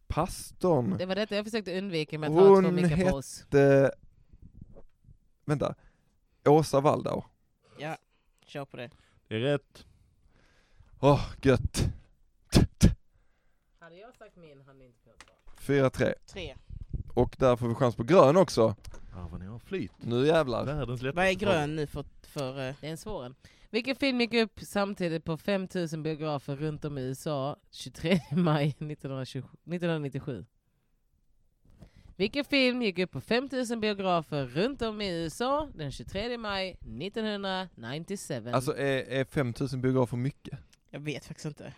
Pastorn. Det var detta jag försökte undvika med att ha Hon två mickar hette- på oss. Det... eh, Vänta. Åsa Waldau. Ja, kör på det. Det är rätt. Åh, gött. Hade jag sagt min hade ni inte kunnat svara. 4-3. Tre. Och där får vi chans på grön också. Ah, vad ni har flyt. Nu jävlar. Världens lättaste Vad är fråga. grön nu för... för eh, Det är en svår en. Vilken film gick upp samtidigt på 5000 biografer runt om i USA 23 maj 1927 1997? Vilken film gick upp på 5000 biografer runt om i USA den 23 maj 1997? Alltså är, är 5000 biografer mycket? jag vet faktiskt inte.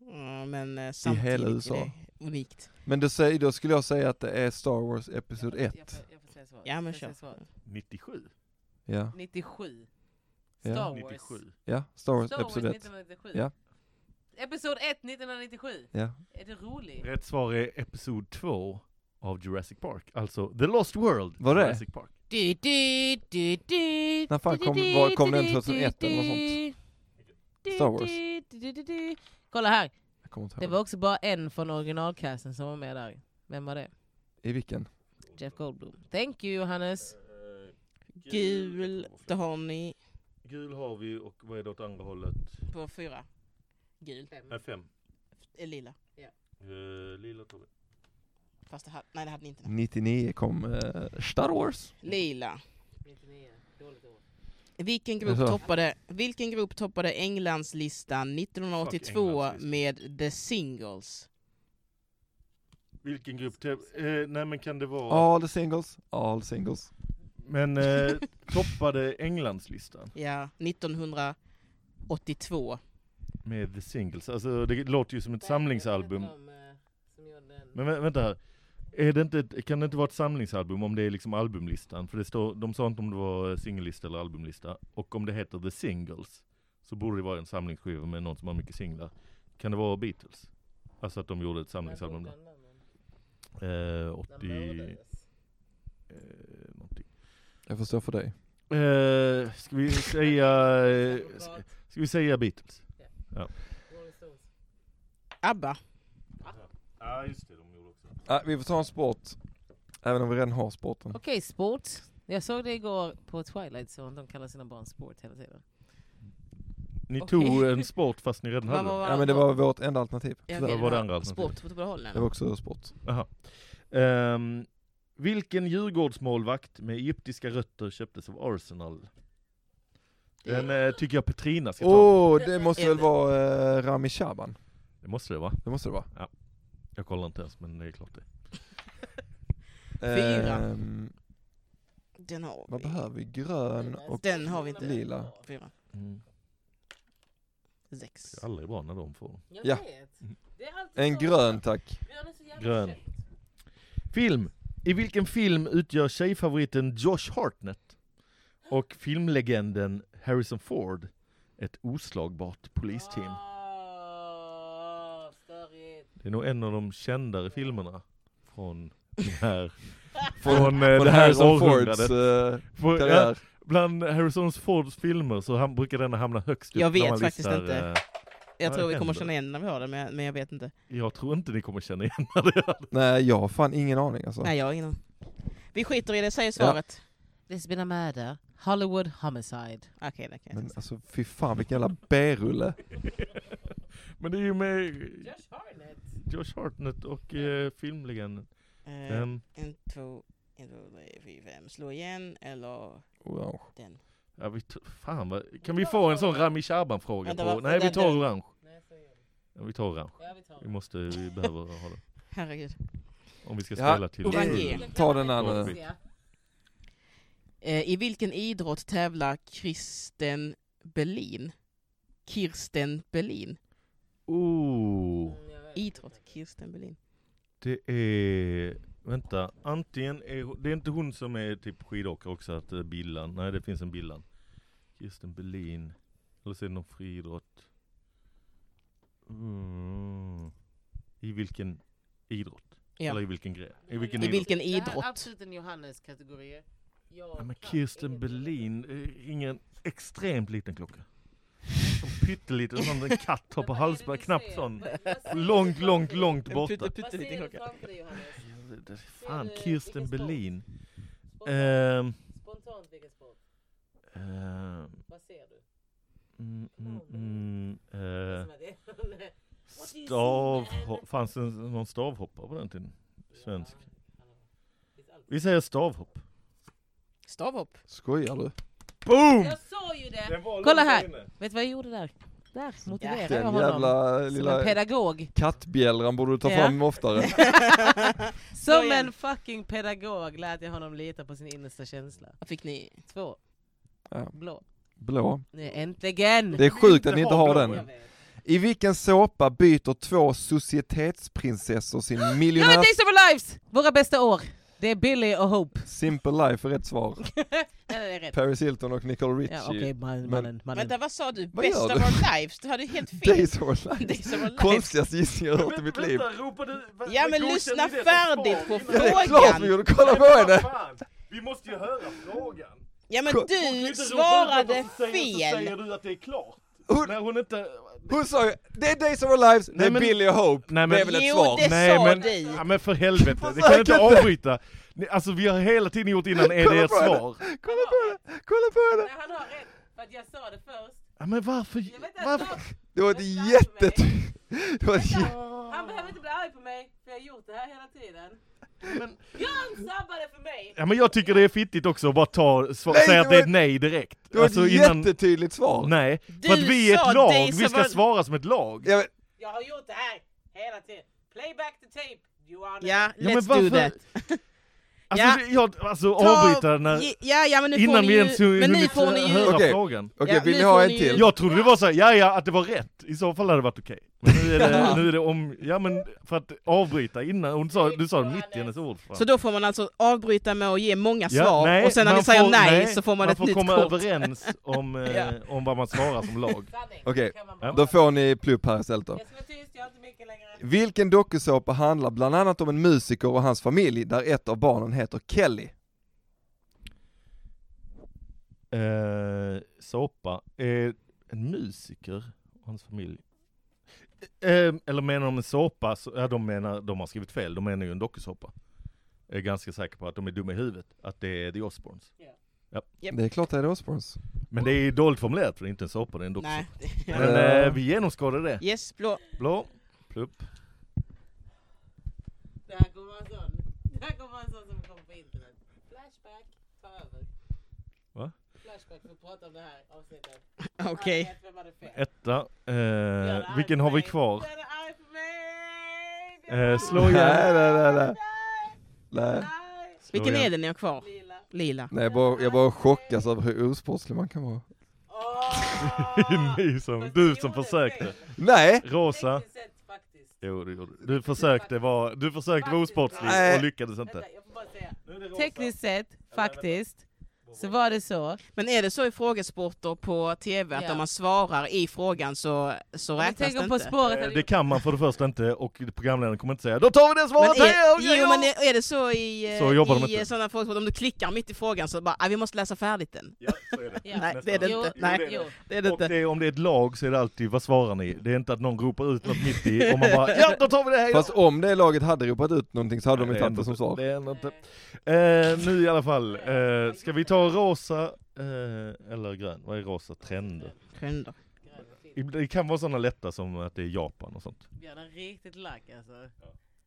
Mm, Men eh, samtidigt hela USA. är det unikt. Men då, säger, då skulle jag säga att det är Star Wars Episod 1. Ja, men kör. 97. Ja, 97. Ja. Star Wars. 97. ja Star Wars Star Wars Episod 1. 1997. Ja. Episod 1 1997. Ja. Är det roligt? Rätt svar är episod 2. av Jurassic Park, alltså The Lost World. Var det? Jurassic Park. Du, du, du, du, När fan du, kom- du, var- kom du, den? du, 2001 eller något du, du, Star Wars. du, du, du, du, du. Kolla här, Jag kommer inte det ihåg. var också bara en från originalcasten som var med där. Vem var det? I vilken? Jeff Goldblum. Thank you Johannes. Gul, det har ni Eh, Gul har vi och vad är det åt andra hållet? på fyra. Gul, Nej, fem. Eh, eh, lila. lila tror Fast det hade, nej det hade ni inte. Mm. 99 kom eh, Star Wars. Lila. Vilken grupp, Jaså? toppade, vilken grupp toppade Englandslistan 1982 Fuck, med The Singles? Vilken grupp? Eh, nej men kan det vara... All the singles, all singles. Men eh, toppade Englandslistan Ja, 1982. med The Singles. Alltså det låter ju som ett samlingsalbum. eh, Men vä- vänta här. Är det inte ett, kan det inte vara ett samlingsalbum om det är liksom albumlistan? För det står, de sa inte om det var singellista eller albumlista. Och om det heter The Singles så borde det vara en samlingsskiva med någon som har mycket singlar. Kan det vara Beatles? Alltså att de gjorde ett samlingsalbum där. Eh, 80... Eh, någonting. Jag förstår för dig. Eh, ska vi säga... Eh, ska, ska vi säga Beatles? ABBA. Ja just det, de gjorde också. Ah, vi får ta en sport. Även om vi redan har sporten. Okej, sport. Jag såg det igår på Twilight Zone, de kallar sina barn sport hela tiden. Ni Okej. tog en sport fast ni redan hade den. Ja men det var vårt enda alternativ. Jag Vad vill var det ha andra alternativet? Sportfotbollen. Det var också sport. Aha. Ehm, vilken Djurgårdsmålvakt med egyptiska rötter köptes av Arsenal? Den eh, tycker jag Petrina ska ta. Åh, det måste väl vara eh, Rami Shaban? Det måste det va? Det måste det vara. Jag kollar inte ens men det är klart det. Fyra. Ehm, Den har vad vi. behöver vi? Grön och Den har vi inte. lila. Fyra. Mm. Sex. Det är aldrig bra när de får. Ja. En grön tack. Grön. Film. I vilken film utgör tjejfavoriten Josh Hartnett och filmlegenden Harrison Ford ett oslagbart polisteam? Det är nog en av de kändare filmerna från den här, från, eh, Från det här Harrison Fords århundradet. eh, För- ja, karriär. Bland Harrison Fords filmer så ham- brukar denna hamna högst upp Jag vet när man faktiskt listar, inte. eh, Jag Vad tror vi kommer händer? känna igen när vi har den, men jag, men jag vet inte. Jag tror inte ni kommer känna igen det. Nej jag har fan ingen aning alltså. Nej, jag har ingen aning. Vi skiter i det, säger svaret. This been a murder. Hollywood homicide. Okej, det kan jag Men inte. alltså fy fan vilken jävla B-rulle. Men det är ju med Josh Hartnett och eh, filmlegenden. Eh, Mm. Ehm, En, två, en, två, tre, fyra, fem. Slå igen, eller Wow. den. ja, vi t- fan vad, kan vi få en sån Rami Shaban-fråga Vänta, på? vad- Nej vi vänta. tar orange. Ja, vi tar orange. Vi måste, vi behöver ha det. Herregud. Om vi ska Ja, Mm. spela till orange. Ta den här nu. Okej. Eh, I vilken idrott tävlar Kristen Berlin? Kirsten Berlin. Oh, Idrott, Kirsten Berlin. det är... Vänta, antingen är hon- Det är inte hon som är typ skidåkare också, att det är Billan. Nej, det finns en Billan. Kirsten Berlin. Eller så är det någon friidrott. Mm. I vilken idrott? Ja. Eller i vilken grej? I vilken I idrott? vilken Det här är idrott? absolut en Johannes-kategori. Jag Ja, men kan Kirsten inget. Berlin eh, ringer en extremt liten klocka. Som pytteliten, som en katt har på Vad är det halsbandet. du Knappt ser? sån. Vad- vad ser du Långt, framför långt, dig? långt En borta. pytte- Vad pytteliten ser du klocka. framför dig Johannes? Det- det- Fan, Ser du Kirsten vilken sport? Berlin. Spontant, Ehm, spontant vilken sport? ehm, Vad ser du? mm, mm, mm, eh, Som att det- Stav... Fanns det någon stavhoppare på den tiden? Svensk. Vi säger stavhopp. Stavhopp. Skojar du? Boom! Jag sa ju det! Kolla här! Vet du vad jag gjorde där? Där motiverade jag Den honom. jävla Som en lilla pedagog. kattbjällran borde du ta Ja. fram oftare. Som igen. en fucking pedagog lät jag honom lita på sin innersta känsla. Vad fick ni? Två. Ja. Blå. Blå. Nej, äntligen! Det är sjukt att ni inte har blå. den. I vilken såpa byter två societetsprinsessor sin miljonärs... Days of our lives! Våra bästa år! Det är Billy och Hope. Simple Life är rätt svar. Nej, nej, rätt. Paris Hilton och Nicole Richie. Ja, Okej, man, mannen, mannen. Vänta, vad sa du? Vad Best gör of du? our lives? Du hade helt fel. Days of our lives. Days of our lives. Konstigaste gissning jag hört i mitt liv. ropade... Ja men lyssna färdigt på Ja, det är klart vi frågan! gjorde, kolla på henne! Vi måste ju höra frågan! Ja men Hon du svarade fel! du att det är klart! Hon, När hon inte... hon sa ju, det är Days of our lives, det är Nej, men- Billy och Hope. Nej, men- det är väl ett Jo, svar? det- Nej sa men, dig. ja, men för helvete, det kan Försök jag inte inte. avbryta! Ni- Alltså vi har hela tiden gjort innan, är det Kolla ett på henne. svar? Kolla på henne! Kolla på henne! Nej, han har rätt, för att jag sa det först. Ja, men varför? Jag vet inte, varför? Det var Men ett larv jättet... Det var ett jä- han- Han behöver inte bli arg på mig, för jag har gjort det här hela tiden. Björn sabbade för mig! Ja men jag tycker det är fittigt också att bara ta, svar, Nej, säga det att det är var- ett nej direkt. Alltså, det var ett jättetydligt svar. Nej, Du för att vi är sa ett lag, dig som vi ska var- svara som ett lag. Ja, men, Jag har gjort det här hela tiden. Play back the tape, you are Ja, Ja, men let's varför- do that. Alltså, Ja. det- jag, alltså Ta- avbryta när, Ge- Ja, ja men nu får innan ni vi ju... ens Men nu hunnit får ni ju... höra Okej. frågan. Okej, Ja, vill nu ni ha får en ni ju- till? Jag trodde det var såhär, ja ja, att det var rätt. I så fall hade det varit okej. Men nu är det, nu är det om, ja men för att avbryta innan, hon sa, du sa det mitt i hennes ord. Fan. Så då får man alltså avbryta med att ge många Ja, svar, nej, och sen när man ni säger får- nej, så får man, ett får nytt komma kort. överens om, eh, Ja. om vad man svarar som lag. Sanning, Okej, kan man Ja. bara- Då får ni plupp här istället då. Jag ska vara tyst, jag har inte mycket längre. Vilken dokusåpa handlar bland annat om en musiker och hans familj där ett av barnen heter Kelly? Eh, såpa, eh, en musiker och hans familj. Eh, eller menar de en såpa? Så, ja, de, menar, de har skrivit fel, de menar ju en dokusåpa. Jag är ganska säker på att de är dumma i huvudet, att det är The Osbournes. Det är klart det är Osbournes. Men det är ju dåligt formulerat, för det är inte en såpa, det är en dokusåpa. Nej. Men Ja. eh, vi genomskådade det. Yes, blå. Blå, plupp. Det här kommer vara en sån. Det här kommer vara en sån som kommer på internet. Flashback, ta över. Va? Flashback, vi pratar om det här avsnittet. Okej. Alla vet vem hade fel. Etta. Björn är Eh, arg vilken på har vi mig. kvar? Björn är arg på mig! Björn är Eh, arg. slå Nej, igen. nej, nej, nej. Eh. Nej, nej. nej. Vilken är det ni har kvar? Lila. Lila. nej jag, bara, jag bara chockas över hur osportslig man kan vara. Åh! Ni som, Fast du jag som gjorde försökte. fel. Nej! Rosa. Tekniskt sett faktiskt. Jo, det gjorde du. Du försökte vara, du försökte vara osportslig Nej. och lyckades inte. Vänta, jag får bara säga. Tekniskt sett faktiskt så var var det så. Men är det så i frågesporter på TV att Ja. om man svarar i frågan så, så Jag räknas det tänker på inte? spåret. Eh, hade Det gjort- kan man för det första inte och programledaren kommer inte säga Då tar vi det Men svaret här! är, ja, jo ja." men är, är det så i, eh, Så jobbar de i inte. eh, sådana frågor, om du klickar mitt i frågan så bara ah, vi måste läsa färdigt den. Ja, så är det. Ja. Nej det är det Jo, inte. jo, Nej, jo. det är det Och inte. det, är- om det är ett lag så är det alltid, vad svarar ni? Det är inte att någon ropar ut något mitt i och man bara, ja då tar vi det här! Fast om det laget hade ropat ut någonting så hade de Nej, inte är haft det ändå som svar. inte- Det är ändå inte. Eh, nu i alla fall, eh, ska vi ta rosa eh, eller grön? Vad är rosa trender? Trender. Det kan vara sådana lätta som att det är Japan och sånt. Björn är riktigt lack alltså.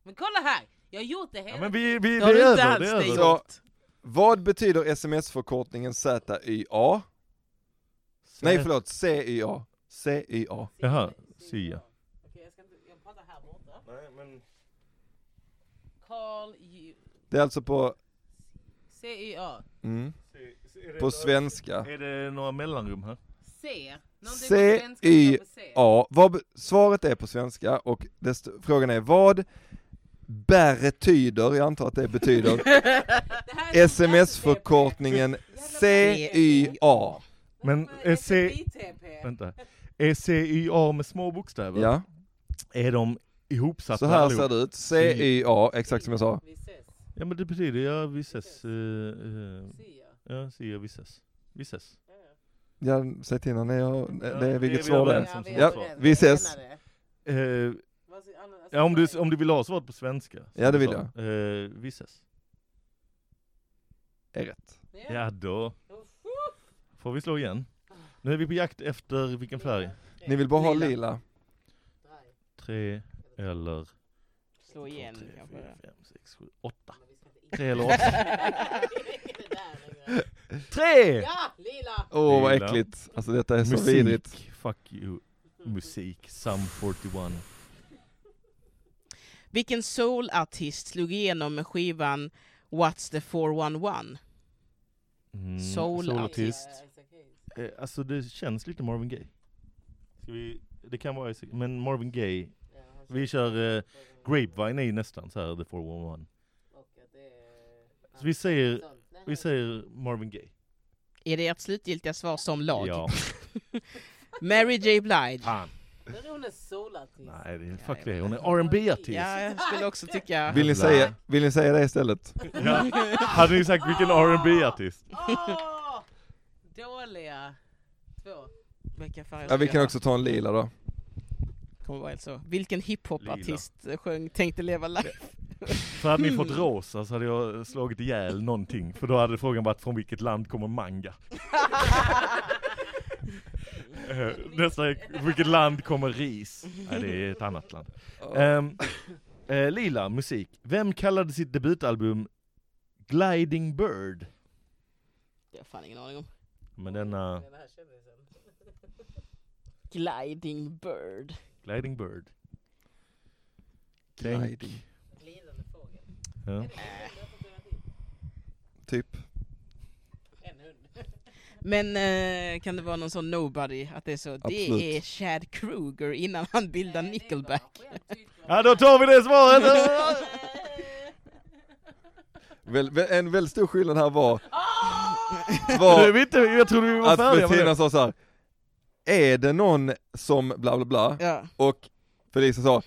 Men kolla här! Jag har gjort det Ja hela men vi, vi, det har är du inte över, alls det är det över. Så- gjort. Vad betyder sms-förkortningen ZYA? Nej förlåt, CYA. CYA. Jaha, Sia. Okej, jag, ska inte, jag pratar här borta. Carl Ju- Det är alltså på, C-Y-A. mm, på svenska. Är det några mellanrum här? C. Någonting på C, svenska I, står på C. Ja, vad, be- svaret är på svenska och det st- frågan är vad betyder, jag antar att det betyder, Det här är sms-förkortningen CYA. Men är C, ITP. vänta. Är CIA med små bokstäver? Ja, Är de ihopsatta? så här allihop? ser det ut. CYA, exakt som jag sa. Vi ses. Ja men det betyder, ja vi ses. eh, eh, Sia. ja, Sia, vi ses. Vi ses. Ja, säg till innan, jag, Ja, det är vilket vi svar det är. överens. som- som är Ja, överens. vi ses. Jag menar det. Eh, Vad alltså, ska- annars- Ja, om du, om du vill ha svaret på svenska. som Ja, det du vill sa. Eh, vi ses. Är rätt. Ja, då Uff. får vi slå igen. Nu är vi på jakt efter vilken färg? Ni vill bara ha Lila. lila. Tre eller... Slå igen två, tre, kanske. fyra, fem, sex, sju, åtta. Tre eller åtta. Tre! Ja, lila! Åh vad Lila. äckligt. Alltså detta är så Musik. vidrigt. Fuck you. Musik. Sum 41. Vilken soulartist slog igenom med skivan What's the 411? Mm, Soul soulartist. Ja, Isaac Hayes. Eh, alltså det känns lite Marvin Gaye. Ska vi... Det kan vara... Isaac- Men Marvin Gaye. Ja, han Vi kör eh, Grapevine är ju nästan så här The Och 411. att det är- Så vi säger, Sånt. Nej, vi säger Marvin Gaye. Är det ert slutgiltiga svar som lag? Ja. typ. Mary J Blige. Fan. Där är hon en solartist. Nej, det är, Ja, fuck jag det. vet Hon inte. är R&B-artist. Ja, jag skulle också tycka... Vill ni, Jävlar. säga, vill ni säga det istället? Ja. Hade ni sagt vilken R&B-artist? Åh! Dåliga två. Vilka färger Ja, vi kan jag också ta en lila då. ha? Kommer vara helt så. alltså, Vilken hiphopartist sjöng Tänkte leva life? För hade ni fått rosa så hade jag slagit ihjäl någonting. För då hade frågan varit från vilket land kommer manga? Eh, Nästa, är, vilket land kommer ris? Nej, det är ett annat land. Ehm, eh, Lila, musik. Vem kallade sitt debutalbum Gliding Bird? Det har jag fan ingen aning om. Men denna Gliding Bird. Gliding Bird. Tänk. Gliding. Glidande fågel. Ja. Typ. En hund. Men eh, kan det vara någon sån nobody? Att det är så? Absolut. Det är Chad Kruger innan han bildar Nickelback. ja, då tar vi det svaret! Väl, väl- en väldigt stor skillnad här var, Nu är var vi inte, jag trodde vi var att färdiga med Bettina det. sa så här. Är det någon som bla bla bla? Ja. Och Felicia sa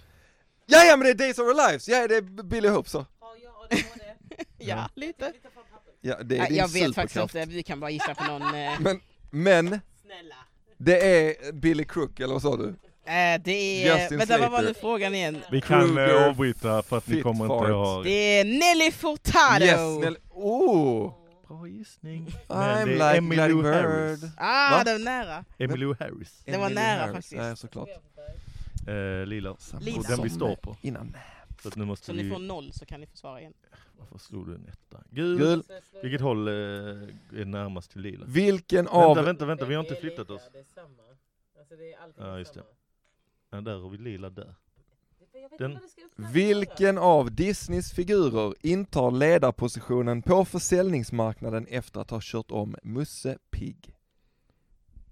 Ja ja men det är Days of Our Lives, ja det är Billy Hope så. Har jag ADHD? ja, lite. Titta på papper. Ja det är Nej, din jag vet superkraft. faktiskt inte, vi kan bara gissa på någon. Eh, Men, men Snälla. det är Billy Crook eller vad sa du? eh, det är... Justin Vänta, vad var Slater. nu frågan igen? Vi kan Kruger, eh, avbryta för att vi Fit kommer Fart. inte ha... Det är Nelly Furtado! Yes, Nelly. Oh! Bra gissning. I'm Men det like är Emmylou Bloody Harris. Bird. Ah, Va? det var nära! Emmylou Harris. Det var Emily nära Harris. faktiskt. Ja, såklart. Eh, Lila. Lila. Och den vi står på. Innan. Så att nu måste Så ni vi... får noll så kan ni få svara igen. Varför slog du en etta? Gul. Gul. Vilket håll eh, är närmast till lila? Vilken av... Vänta, vänta, vänta, vi har inte flyttat oss. Det är samma. Alltså det är alltid Ja, just det. Ja, där har vi lila där. Jag vet Den- inte vad det ska öppna. Vilken av Disneys figurer intar ledarpositionen på försäljningsmarknaden efter att ha kört om Musse Pigg?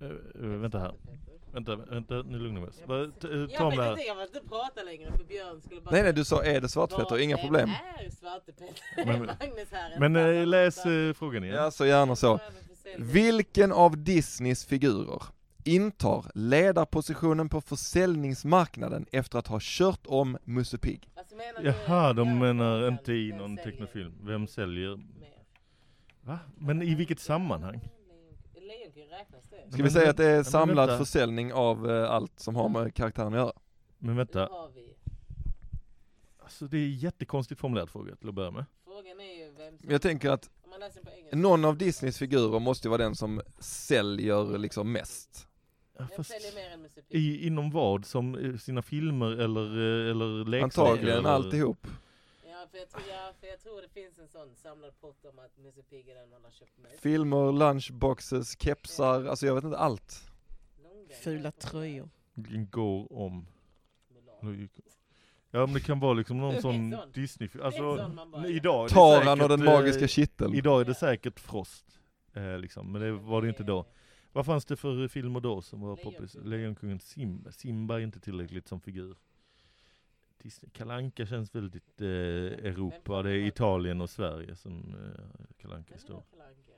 Eh, eh, vänta här. Vänta, vänta, nu lugnar vi oss. Va, t- eh, Jag Ta vet med... inte, jag vill inte prata längre för Björn skulle bara... Nej nej, du sa är det svartpetter, Vad inga det problem. är Svartepetter. Men- Magnus här är Men en eh, samma läs sak. eh, frågan igen. Ja, så gärna så. Vilken av Disneys figurer intar ledarpositionen på försäljningsmarknaden efter att ha kört om Musse Pigg? Alltså, menar du- Jaha, de menar inte i Vem någon säljer tecknofilm. Vem säljer? mer? Va? Men i vilket sammanhang? eh, Lejonkungen räknas det? Ska vi Men säga vä- att det är men samlad vänta. försäljning av eh, allt som har med karaktären att göra? Men Nu vänta, har vi. alltså det är jättekonstigt formulerad fråga till att börja med. Frågan är ju vem som... Jag tänker att Om man läser på engelska. någon av Disneys figurer måste ju vara den som säljer liksom mest. Ja, Vem fast säljer mer än Musse Pigg? i, inom vad? Som eh, sina filmer eller, eh, eller leksaker? Antagligen eller... alltihop. Ja, för jag, tror, ja, för jag tror det finns en sån samlad pott om att Musse Pigg är den man har köpt mest. Filmer, lunchboxes, kepsar, alltså jag vet inte allt. Långben. Fula tröjor. Vilken går om? Mulan. Eller gick- Ja men det kan vara liksom någon sån Nixon. Disney Nixon, alltså, man bara- idag är det Taran säkert, och den eh, magiska kitteln. Idag är det säkert Frost, eh, liksom. men det var det inte då. Vad fanns det för filmer då som var poppis? Lejonkungen. Lejonkungen Simba. Simba är inte tillräckligt som figur. Disney. Kalanka känns väldigt eh, Europa, det är Italien och Sverige som eh, Kalanka Men det står. var Kalle Anka.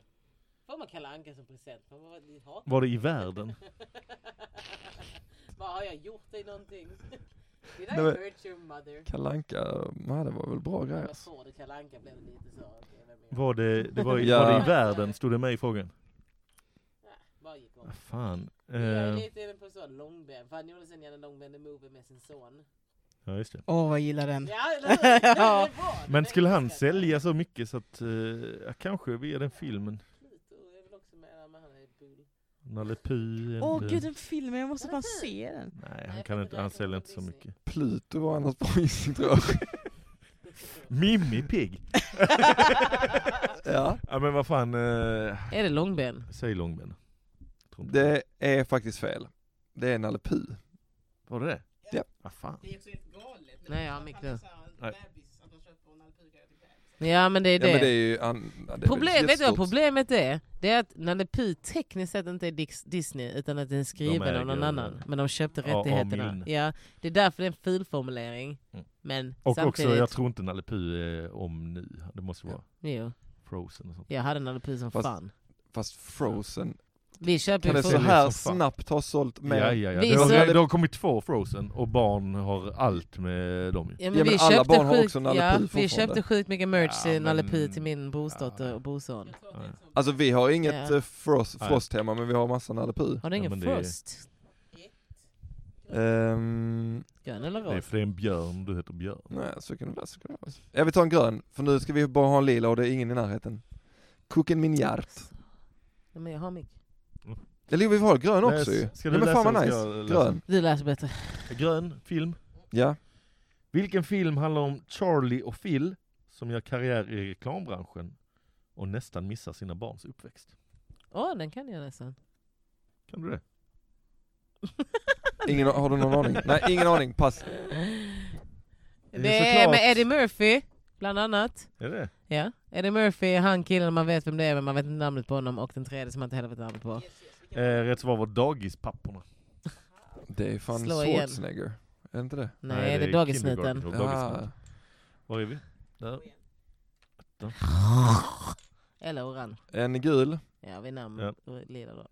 Får man Kalle Anka som present? Man bara, ni hatar Var det i världen? Vad har jag gjort dig någonting? Did I Nej, men- hurt your mother? Kalanka, nej det var väl bra grejer. Jag alltså. tror det Kalle Anka blev lite så. okej, vem är jag? Var det, det var, i- Ja. var det i världen? Stod det med i frågan? Bara gick om. Ah, fan. Jag är Eh, lite inne på så långben, för han gjorde sen gärna långben the movie med sin son. ja just det. Åh, vad jag gillar den. Ja, eller hur? Den är bra, den Mm. Men är skulle han uppskattad. sälja så mycket så att, eh, ja, kanske via den filmen. Pluto är väl också med där, men han är bull. Nalle Puh är Åh inte- gud, den filmen, jag måste bara se den. Nej, han kan inte, han säljer inte så mycket. Pluto var annars bra gissning tror jag. Mimmi Pigg! Ja, Ja men vad fan, eh, Är det långben? säg långben. Tror inte det är faktiskt fel. Det är Nalle Puh. Var det det? Ja. Ah, fan. Det är också helt galet. Nej, jag har mick nu. Nej. Ja men det är Ja men det är ju... An, ja, det är väl Problem, vet du vad jättestort. problemet är? Det är att Nalle Puh tekniskt sett inte är Dix- Disney utan att den är De skriven äger av någon den. annan. Men de köpte Ja, av rättigheterna. Milne. Ja, det är därför det är en filformulering. Mm. Men Och samtidigt... också, jag tror inte Nalle Puh är om nu. Det måste vara Jo, Frozen och sånt. jag hade Nalle Puh som Fast- fan. Fast Frozen, Vi köper kan ju det det så säljer Frozen. här som fan. snabbt ha sålt Ja, mer? ja, ja. Vi Det, har, så- det har kommit två Frozen och barn har allt med dem ju. Ja, Ja, men alla barn har också Nalle Puh ja, vi fortfarande. köpte sjukt mycket merch Ja, till Nalle men- Puh till min brorsdotter och brorson. Alltså vi har inget Ja. eh, frost, Nej. frosthemma men vi har massa Nalle Puh. Har du Ja, ingen men det- frost? Ehm, Grön eller Nej, rosa? för det är en björn, du heter Björn. nej, så kan det vara, så kan det vara. Jag vill ta en grön, för nu ska vi bara ha en lila och det är ingen i närheten. Kuken min hjärt. Ja, men jag har mycket. Eller jo, vi har grön Nej, också ju. ska Nej, du men läsa fan vad eller ska nice. jag läsa? Grön. Du läser bättre. Grön film. Ja. Vilken film handlar om Charlie och Phil som gör karriär i reklambranschen och nästan missar sina barns uppväxt? Åh, den kan jag nästan. Kan du det? Ingen, har du någon aning? Nej, ingen aning. Pass. är Det är såklart- med Eddie Murphy, bland annat. Är det? Ja. Eddie Murphy är han killen man vet vem det är men man vet inte namnet på honom och den tredje som man inte heller vet namnet på. Eh, rätt svar var Dagispapporna. Det är fan Slå igen. Schwarzenegger. Är det inte det? Nej, det är kindergarten Dagissnuten. och dagisnuten. Var är vi? Där. Eller orange. Ah, en gul. Ja, vi namn Ja. och lila då.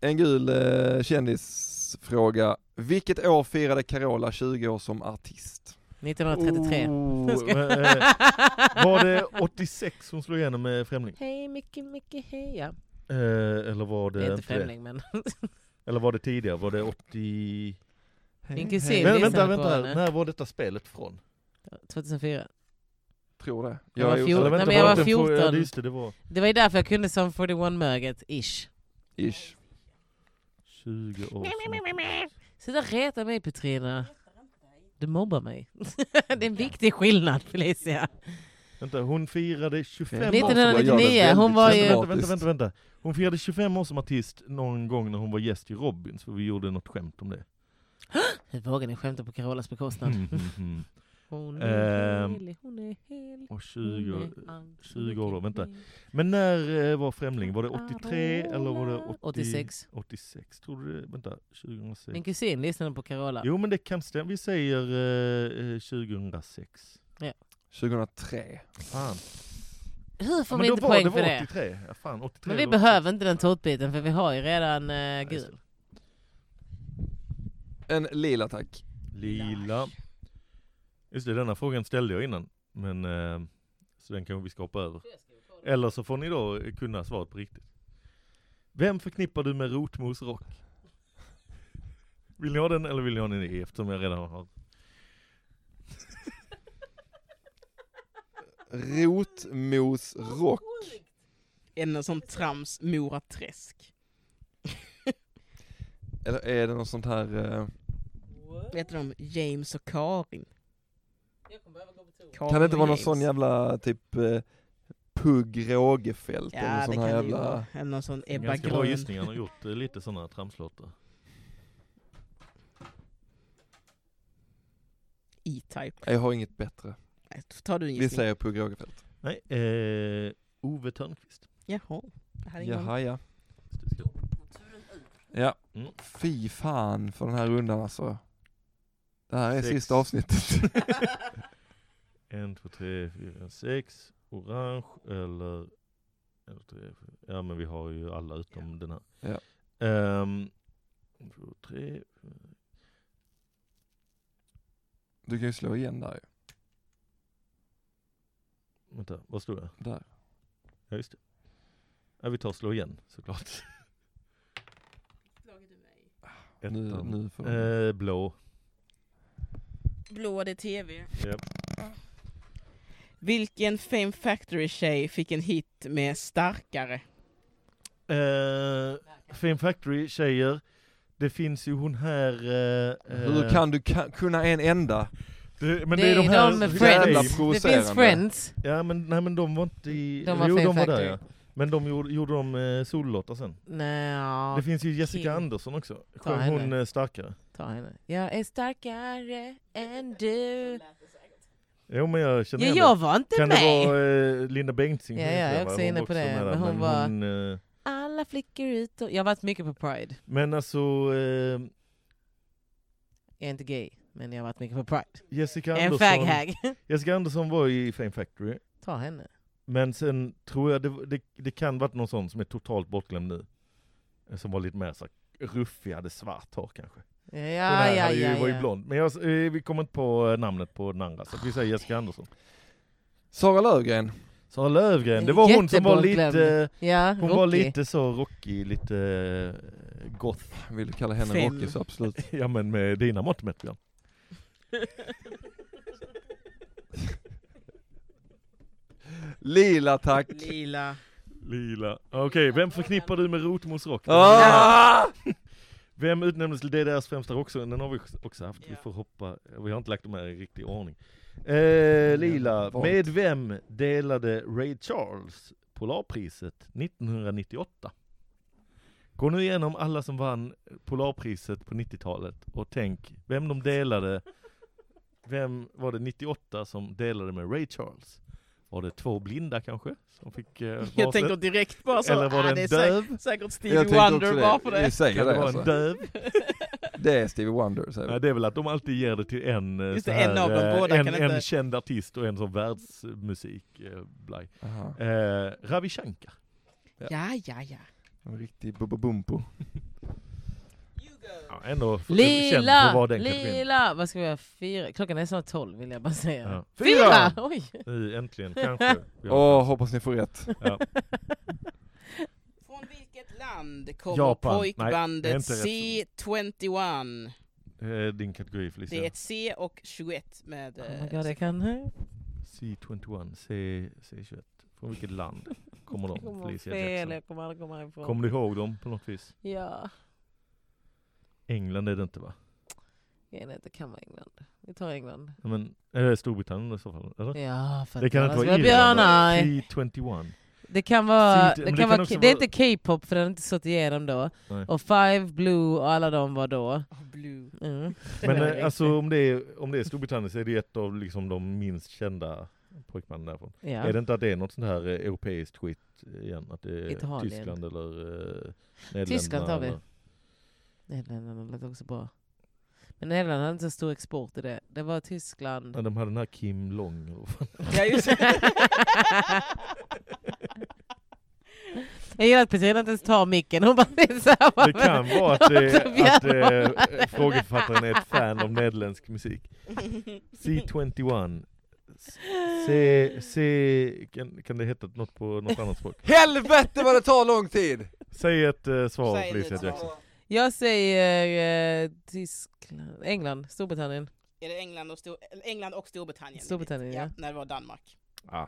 En gul eh, kändisfråga. Vilket år firade Carola 20 år som artist? 1933. Oh, Jag skojar. men, eh, var det 86 hon slog igenom med Främling? Hej Micke, Micke, hej ja. Eh, eller var det, Det är inte inte det? främling men. Eller var det tidigare? Var det 80... Min kusin Men, visade vänta, på vänta. henne. När var detta spelet från? 2004. Tror det. Jag var är fjorton. Eller osäker. vänta, men jag det var den fråga- Ja, 14. just det, det var Det var ju därför jag kunde som 41-möget, ish. Ish. 20 år Sluta reta mig Petrina. Du mobbar mig. det är en viktig skillnad Felicia. Vänta, hon firade 25 år som 1999, Jag var hon var ju... väldigt Vänta, vänta, vänta, vänta. Hon firade 25 år som artist någon gång när hon var gäst i Robins, för vi gjorde något skämt om det. Hur vågar ni skämta på Carolas bekostnad? Mm, mm, mm. Hon är Ehm, helig, hon är hel. Och hon 20 år. är allt som 20 år då, är vänta. min. Men när eh, var Främling? Var det 83 eller var det 80... 86. 86, tror du det? Vänta, 2006. Min kusin lyssnade på Carola. Jo men det kan stämma, vi säger eh, eh, 2006. 2003. Fan. Hur får men vi inte var poäng det för var typ det? 83. Ja, fan, 83 Men vi eller behöver inte den tårtbiten för vi har ju redan eh, just det. gul. En lila tack. Lila. Just det, denna frågan ställde jag innan. Men, eh, så den kanske vi ska hoppa över. Eller så får ni då eh, kunna svaret på riktigt. Vem förknippar du med rotmos rock? Vill ni ha den eller vill ni ha den i eftersom jag redan har? Rotmos rock. En sån trams Mora Träsk. Eller är det något sånt här... eh, Vet du om James och Karin? Kan det inte vara någon sån jävla typ eh, Pugg Rågefält Ja, eller det sån kan här det ju jävla... vara. Eller någon sån Ebba Ganska bra Grön. gissningar, han har gjort eh, lite sådana tramslåtar. E-Type. Nej, Jag har inget bättre. Nej, tar du en Vi gissning? säger Pugh Rogefeldt. Nej, eh, Ove Thörnqvist. Jaha. Jag hade ingen aning. Jaha ja. Just det, ja. Mm. Fy fan för den här rundan alltså. Det här är Sex. sista avsnittet. En, två, tre, fyra, sex. Orange eller... en, två, tre, fyra. Ja men vi har ju alla utom den här. Ja. Ehm, en, två, tre. Du kan ju slå igen där ju. Vänta, vad stod jag? Där. Ja just det. Ja, vi tar slå igen såklart. Nu, Ettan. nu får du. Eh, blå. Blå, det är TV. Japp. Vilken Fame Factory-tjej fick en hit med Starkare? Eh, Fame Factory tjejer. Det finns ju hon här... Eh, eh, Hur kan du ka- kunna en enda? det, men Det det är de är här... de med Jävla Friends. Det finns provocerande. Friends. Ja men nej men de var inte i... De var jo, Fame de var där Factory. ja. Men de gjorde, gjorde de eh, sollåtar sen. Nja, Det finns ju Jessica Kim. Andersson också. Ta Sjöng henne. hon eh, starkare? ta henne. Jag är starkare än du. Jo men jag Ja, känner igen jag var det. inte Kan det med. vara eh, Linda Bengtzing? Ja, ja, jag är också inne på det, men hon var- Men, hon, eh, Alla flickor ut och... Jag har varit mycket på Pride. men alltså eh, Jag är inte gay, men jag har varit mycket på Pride. Jessica En Andersson, faghag. Jessica Andersson var i Fame Factory. Ta henne. Men sen tror jag det, det, det kan varit någon sån som är totalt bortglömd nu. Eh, Som var lite mer så här ruffig, hade svart hår kanske. Ja, den ja, här ja. hade ju, var ju ja. blond. Men jag, eh, vi kommer inte på eh, namnet på den andra, så att vi säger Jessica Andersson. Sara Löfgren. Sara Lövgren, det var hon som var Jättebortglömd. lite... eh, ja Hon var rockig. lite så rockig, lite eh, goth. Vill du kalla henne Fem. Rocky så absolut. Ja men med dina mått mätt Björn. Lila tack. Lila. Lila. Okej, vem förknippar du med Rotmos rock? Ah! Vem utnämndes till DDRs främsta rocksång? Den har vi också haft. Vi Ja. får hoppa. Vi har inte lagt dem här i riktig ordning. Mm. Eh, Lila, Valt. med vem delade Ray Charles Polarpriset 1998? Gå nu igenom alla som vann Polarpriset på 90-talet och tänk vem de delade. Vem var det 98 som delade med Ray Charles? Var det två blinda kanske? Som fick eh, Jag varsitt? tänker direkt bara så, Eller var ah, det det är en säkert, döv? säkert Stevie Jag tänkte också Wonder bara på det. Vi det. säger Kan det det vara en alltså. döv? Det är Stevie Wonder säger vi. Nej, det är väl att de alltid ger det till en, eh, Just så det, här, en av dem, eh, båda en, kan en inte- känd artist och en som världsmusik. Eh, blaj. Aha, eh, Ravi Shankar. Ja, ja, ja. en riktig bububumpo. Ja, ändå f- känd för att Lila! vara den kategorin. Lila! Vad ska vi göra? Fyra? Klockan är snart tolv vill jag bara säga. Ja. Fyra! Oj! Nu, äntligen, kanske. Vi har- Åh, hoppas ni får rätt. Från vilket land kommer Japan. Nej, det är pojkbandet inte rätt. C21? Eh, din kategori Felicia. Det är ett C och 21 med... Oh my eh, God, jag kan... C21, C, C21. Från vilket land kommer Jag de? kommer Felicia fel, Jackson. jag kommer aldrig komma ifrån. Kommer du ihåg dem på något vis? Ja. England är det inte va? Grejen är att det kan vara England. Vi tar England. Ja, Men, eller Storbritannien i så fall, eller? Ja, för Det att kan inte annars vara blir jag Irland? björnar. C21. Det kan vara... Det, Syd- men kan det kan vara, också det är vara- inte K-pop för den har inte slått igenom då. Nej. Och Five, Blue och alla de var då. oh, Blue. Mm. Men Nej, eh, alltså om det, är, om det är Storbritannien så är det ett av liksom, de minst kända pojkbanden därifrån. Ja. Är det inte att det är något sånt här eh, europeiskt skit igen? Att det är Italien. Tyskland eller eh, Nederländerna? Tyskland tar vi. eller- Nederländerna lät också bra. Men Nederländerna hade inte så stor export i det. Det var Tyskland. Nej, de hade den här Kim Long. eller vad fan. Ja, just Jag gillar att Petrina inte ens tar micken. Hon bara det är Alltså, så här, Det bara- kan vara att, det, Tobias att eh, Norrman. frågeförfattaren är ett fan av nederländsk musik. C21. C, C, kan, kan det heta något på något annat språk? Helvete vad det tar lång tid! Säg ett eh, svar Säg Felicia ett svar. Jackson. Jag säger eh, Tyskland, England, Storbritannien. Är det England och, Stor- eller England och Storbritannien? Storbritannien, ja. När det var Danmark. Ah.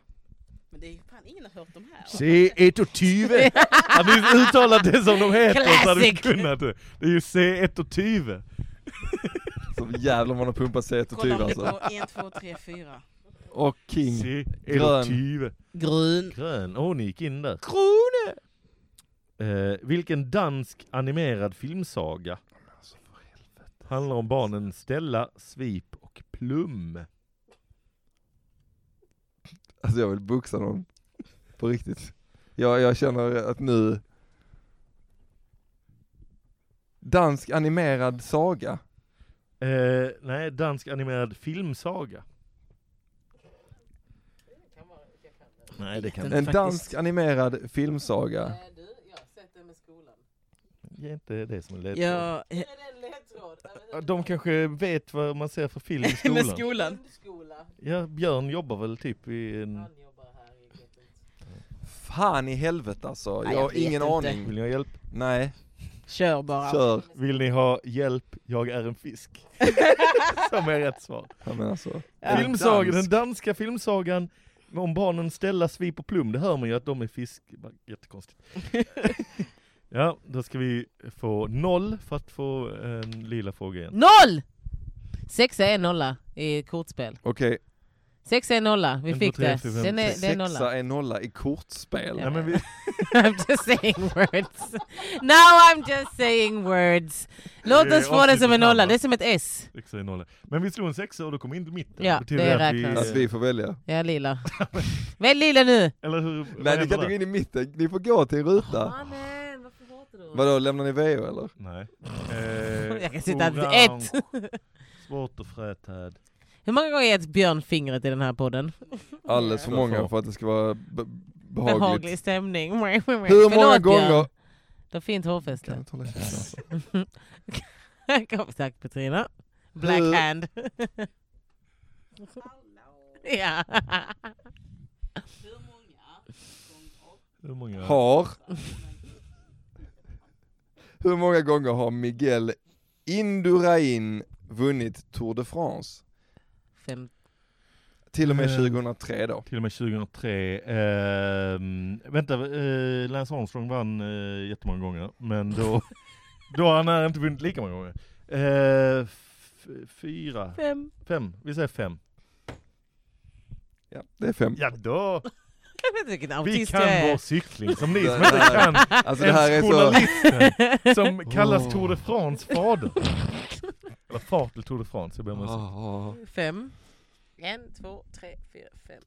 Men det är ju fan ingen har hört de här. C120! Hade du uttalat det som de heter så hade vi Classic. kunnat det. Det är ju C120. Så jävlar man har pumpat C120 Kolla om det alltså. går 1, 2, 3, 4. Och King. C120. Grön. Grön. Åh, ni gick in där. Krone! Eh, vilken dansk animerad filmsaga handlar om barnen Stella, Svip och Plum? Alltså jag vill boxa någon. På riktigt. Jag, jag känner att nu... Dansk animerad saga. Eh, nej, dansk animerad filmsaga. Nej, det kan Den En faktiskt. dansk animerad filmsaga. du, jag har sett det med skolan. Ge inte det som en ledtråd. Ja, Är det en ledtråd? Ja, De kanske vet vad man ser för film i skolan. med skolan. Grundskola. ja, Björn jobbar väl typ i en... jobbar här i Fan i helvete alltså. Nej, Jag jag har vet ingen inte. aning. Vill ni ha hjälp? Nej, Kör bara. kör. Vill ni ha hjälp? Jag är en fisk. Som är rätt svar. Ja, men alltså. Ja. Filmsagan, Dansk. den danska filmsagan om barnen Stella, Svip och Plum, det hör man ju att de är fisk. Bara Jättekonstigt. ja, då ska vi få noll för att få eh, en lila fråga igen. Noll! Sexa är nolla i kortspel. Okej, Sexa är nolla, vi En, fick två, tre, det. fyra, fem, Den är, det är nolla. sexa är nolla i kortspel. Nej, men vi, I'm just saying words. Now I'm just saying words. Låt Det är oss få det som en avsnittets nolla, namn, det är som ett S. sex är nolla. men vi slog en sexa och då kom vi in till mitten. Ja, betyder det att vi- räknas. Att vi får välja. Ja, lila. Välj lila nu! Eller hur? vad Nej, ni händer kan inte gå där? in i mitten. Ni får gå till en Ah. ruta. Mannen, varför hatar du Vadå, lämnar ni VO eller? Nej. Eh, Jag kan sitta orange, ett. Svårt och frätad. Hur många gånger har jag gett Björn fingret i den här podden? Alldeles för många för att det ska vara be- behagligt. Behaglig stämning. Hur många Förlåt, Björn. gånger... Du har fint Kan hårfäste. jag hålla käften alltså? Kom, tack Petrina. Black Hur- hand. ja. Hur många? Har... Hur många gånger har Miguel Indurain vunnit Tour de France? Fem. Till och med Eh. 2003 då. Till och med 2003. ehm, vänta, eh, Lance Armstrong vann eh, jättemånga gånger, men då, då har han eh, inte vunnit lika många gånger. Eh, f- fyra, Fem. fem, vi säger fem. Ja, det är fem. Ja då, Jag vet inte vilken vi autist kan jag vår är. cykling som ni Det- som inte kan Alltså det här är ens så... journalisten som kallas Oh. Tour de France fader. Eller far till Tour de France, jag ber om ursäkt. Ah, Fem. En, två, tre, fyra, fem.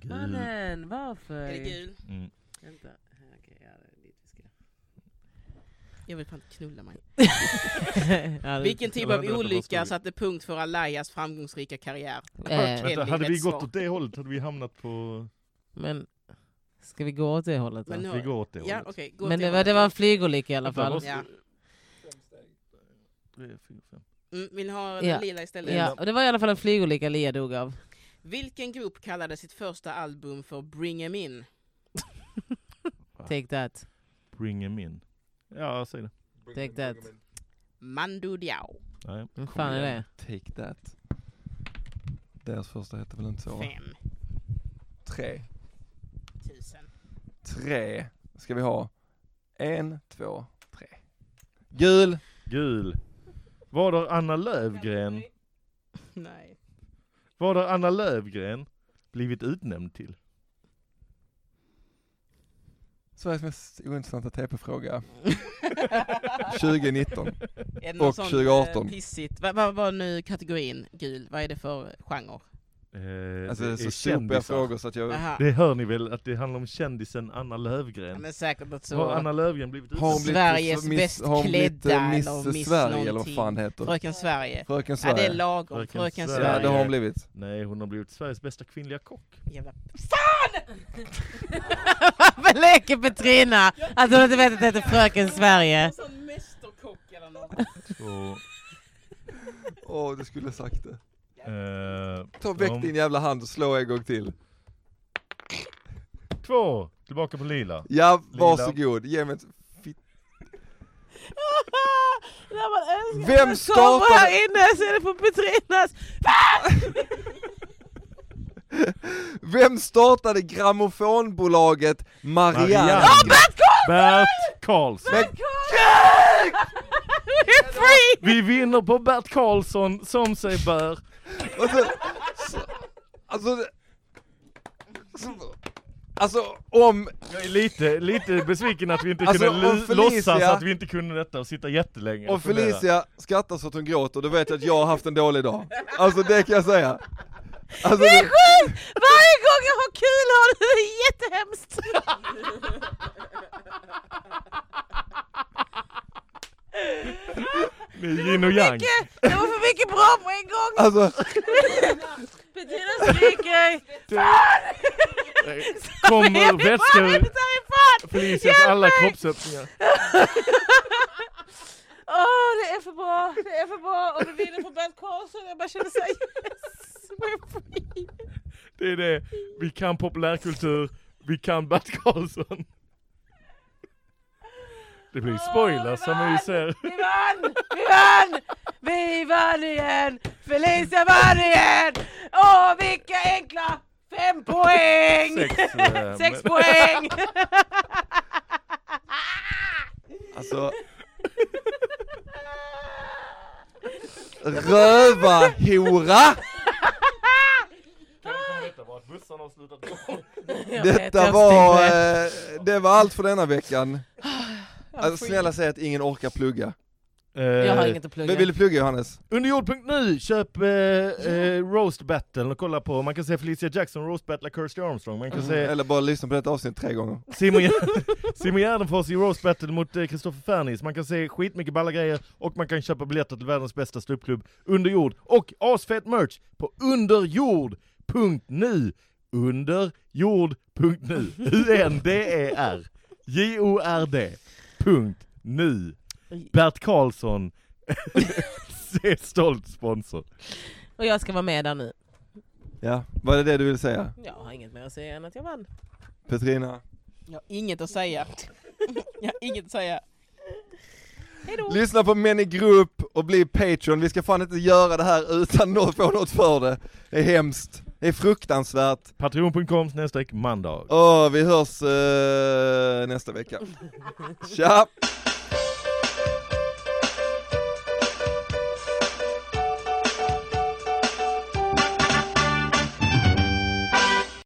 Gud. Mannen, varför? Är det gul? Mm. Vänta. Okej, ja, det är dit vi ska. Jag vill fan knulla mig. Ja, det- Vilken typ Eller av vänta, vänta, vad ska olycka vi- satte punkt för Alayas framgångsrika karriär? Eh, Vänta, Väldigt hade rätt vi gått svar. åt det hållet hade vi hamnat på... Men ska vi gå åt det hållet då? Men Men, nu- Vi går åt det Ja, hållet. okej. gå till det, var, det var en flygolycka i alla Vänta, fall. vad- Ja. Tre, fyra, fem. Mm, vill ni ha Ja. den lila istället? Ja, och det var i alla fall en flygolycka Lia dog av. Vilken grupp kallade sitt första album för Bring Em In? Take that. Bring him in. Ja, säg det. Take that. Mando Diao. Nej. Vem fan är det? Take that. Deras första hette väl inte så? va? 5 Tre. 000. Tre ska vi ha. En, två, tre. Jul! Gul. Var där Anna Lövgren? Nej. Var där Anna Lövgren blivit utnämnd till? Sveriges mest ointressanta TP-fråga 2019. Är det Och någon sån, eh, 2018. Pissigt. Vad vad var nu kategorin gul? Vad är det för genre? Eh, Alltså det är så sopiga kändisar. frågor så att jag... Aha. Eh, Det hör ni väl att det handlar om kändisen Anna Ja, Lövgren? men säkert något Har så. Anna Lövgren blivit Har hon utnämnd? blivit Sveriges miss- bäst har hon blivit, eh, klädda Miss eller Miss Sverige eller vad någonting? fan det heter? Fröken Sverige. Fröken Ja, det är Sverige. lagom. Fröken Fröken, Sverige. Sverige. Ja det har hon blivit. Nej, hon har blivit Sveriges bästa kvinnliga kock. Jävla... Varför leker Petrina att hon inte vet att det heter Fröken Sverige? Sån mästerkock eller något. Så, Åh du skulle sagt det. eh, Ta väck din jävla hand och slå en gång till. två! Tillbaka på lila. Ja Lila. varsågod, ge mig ett fitt... När man önskar Vem att det startade- kommer här inne så är det på Petrinas. Vem startade grammofonbolaget Marianne? Bert Karlsson! Bert Karlsson! Men We're free! Vi vinner på Bert Karlsson som sig bör. Alltså, så, alltså, det- så, alltså om, Jag är lite, lite besviken att vi inte Alltså, kunde om lu- Felicia- låtsas att vi inte kunde detta och sitta jättelänge om fundera. Felicia skrattar så att hon gråter, då vet jag att jag har haft en dålig dag. Alltså det kan jag säga. Alltså, Det är det, sjukt! Varje gång jag har kul har du det är jättehemskt! Det är yin och yang. Det var för mycket bra på en gång! alltså, Petrina skriker! Kommer Fan, jag är vätskor inte härifrån! Felicias Hjälp alla mig! kroppsöppningar. Åh, det är för bra, det är för bra! Och du vinner på Bert Karlsson, jag bara känner såhär yes! We're free! Det är det. Vi kan populärkultur. Vi kan Bert Karlsson. Det blir spoilers som vi ser. Vi vann! Vi vann! Vi vann igen! Felicia vann igen! Åh, vilka enkla fem poäng! Sex, eh, Sex men- poäng! alltså Rövarhora! Detta var, eh, det var allt för denna veckan. Alltså, snälla säg att ingen orkar plugga. Jag har Eh, inget att plugga. Vi vill du plugga Johannes? Underjord.nu, köp eh, eh, Roast Battle och kolla på, man kan se Felicia Jackson roast battla Kirsty Armstrong, man kan se Mm. Eller bara lyssna på detta avsnitt tre gånger. Simon, Gär- Simon Gärdenfors i roast battle mot eh, Kristoffer Fernis, man kan se skitmycket balla grejer och man kan köpa biljetter till världens bästa ståuppklubb Underjord och asfett merch på underjord.nu underjord.nu U-N-D-E-R J-O-R-D punkt nu Bert Karlsson Se stolt sponsor Och jag ska vara med där nu. Ja, var det det du ville säga? Jag har inget mer att säga än att jag vann. Petrina? Jag har inget att säga. Jag har inget att säga. Lyssna på Män i Grupp och bli Patreon. Vi ska fan inte göra det här utan att få något för det. Det är hemskt. Det är fruktansvärt. Patreon.com snedstreck mandag Åh, vi hörs eh, nästa vecka. Tja!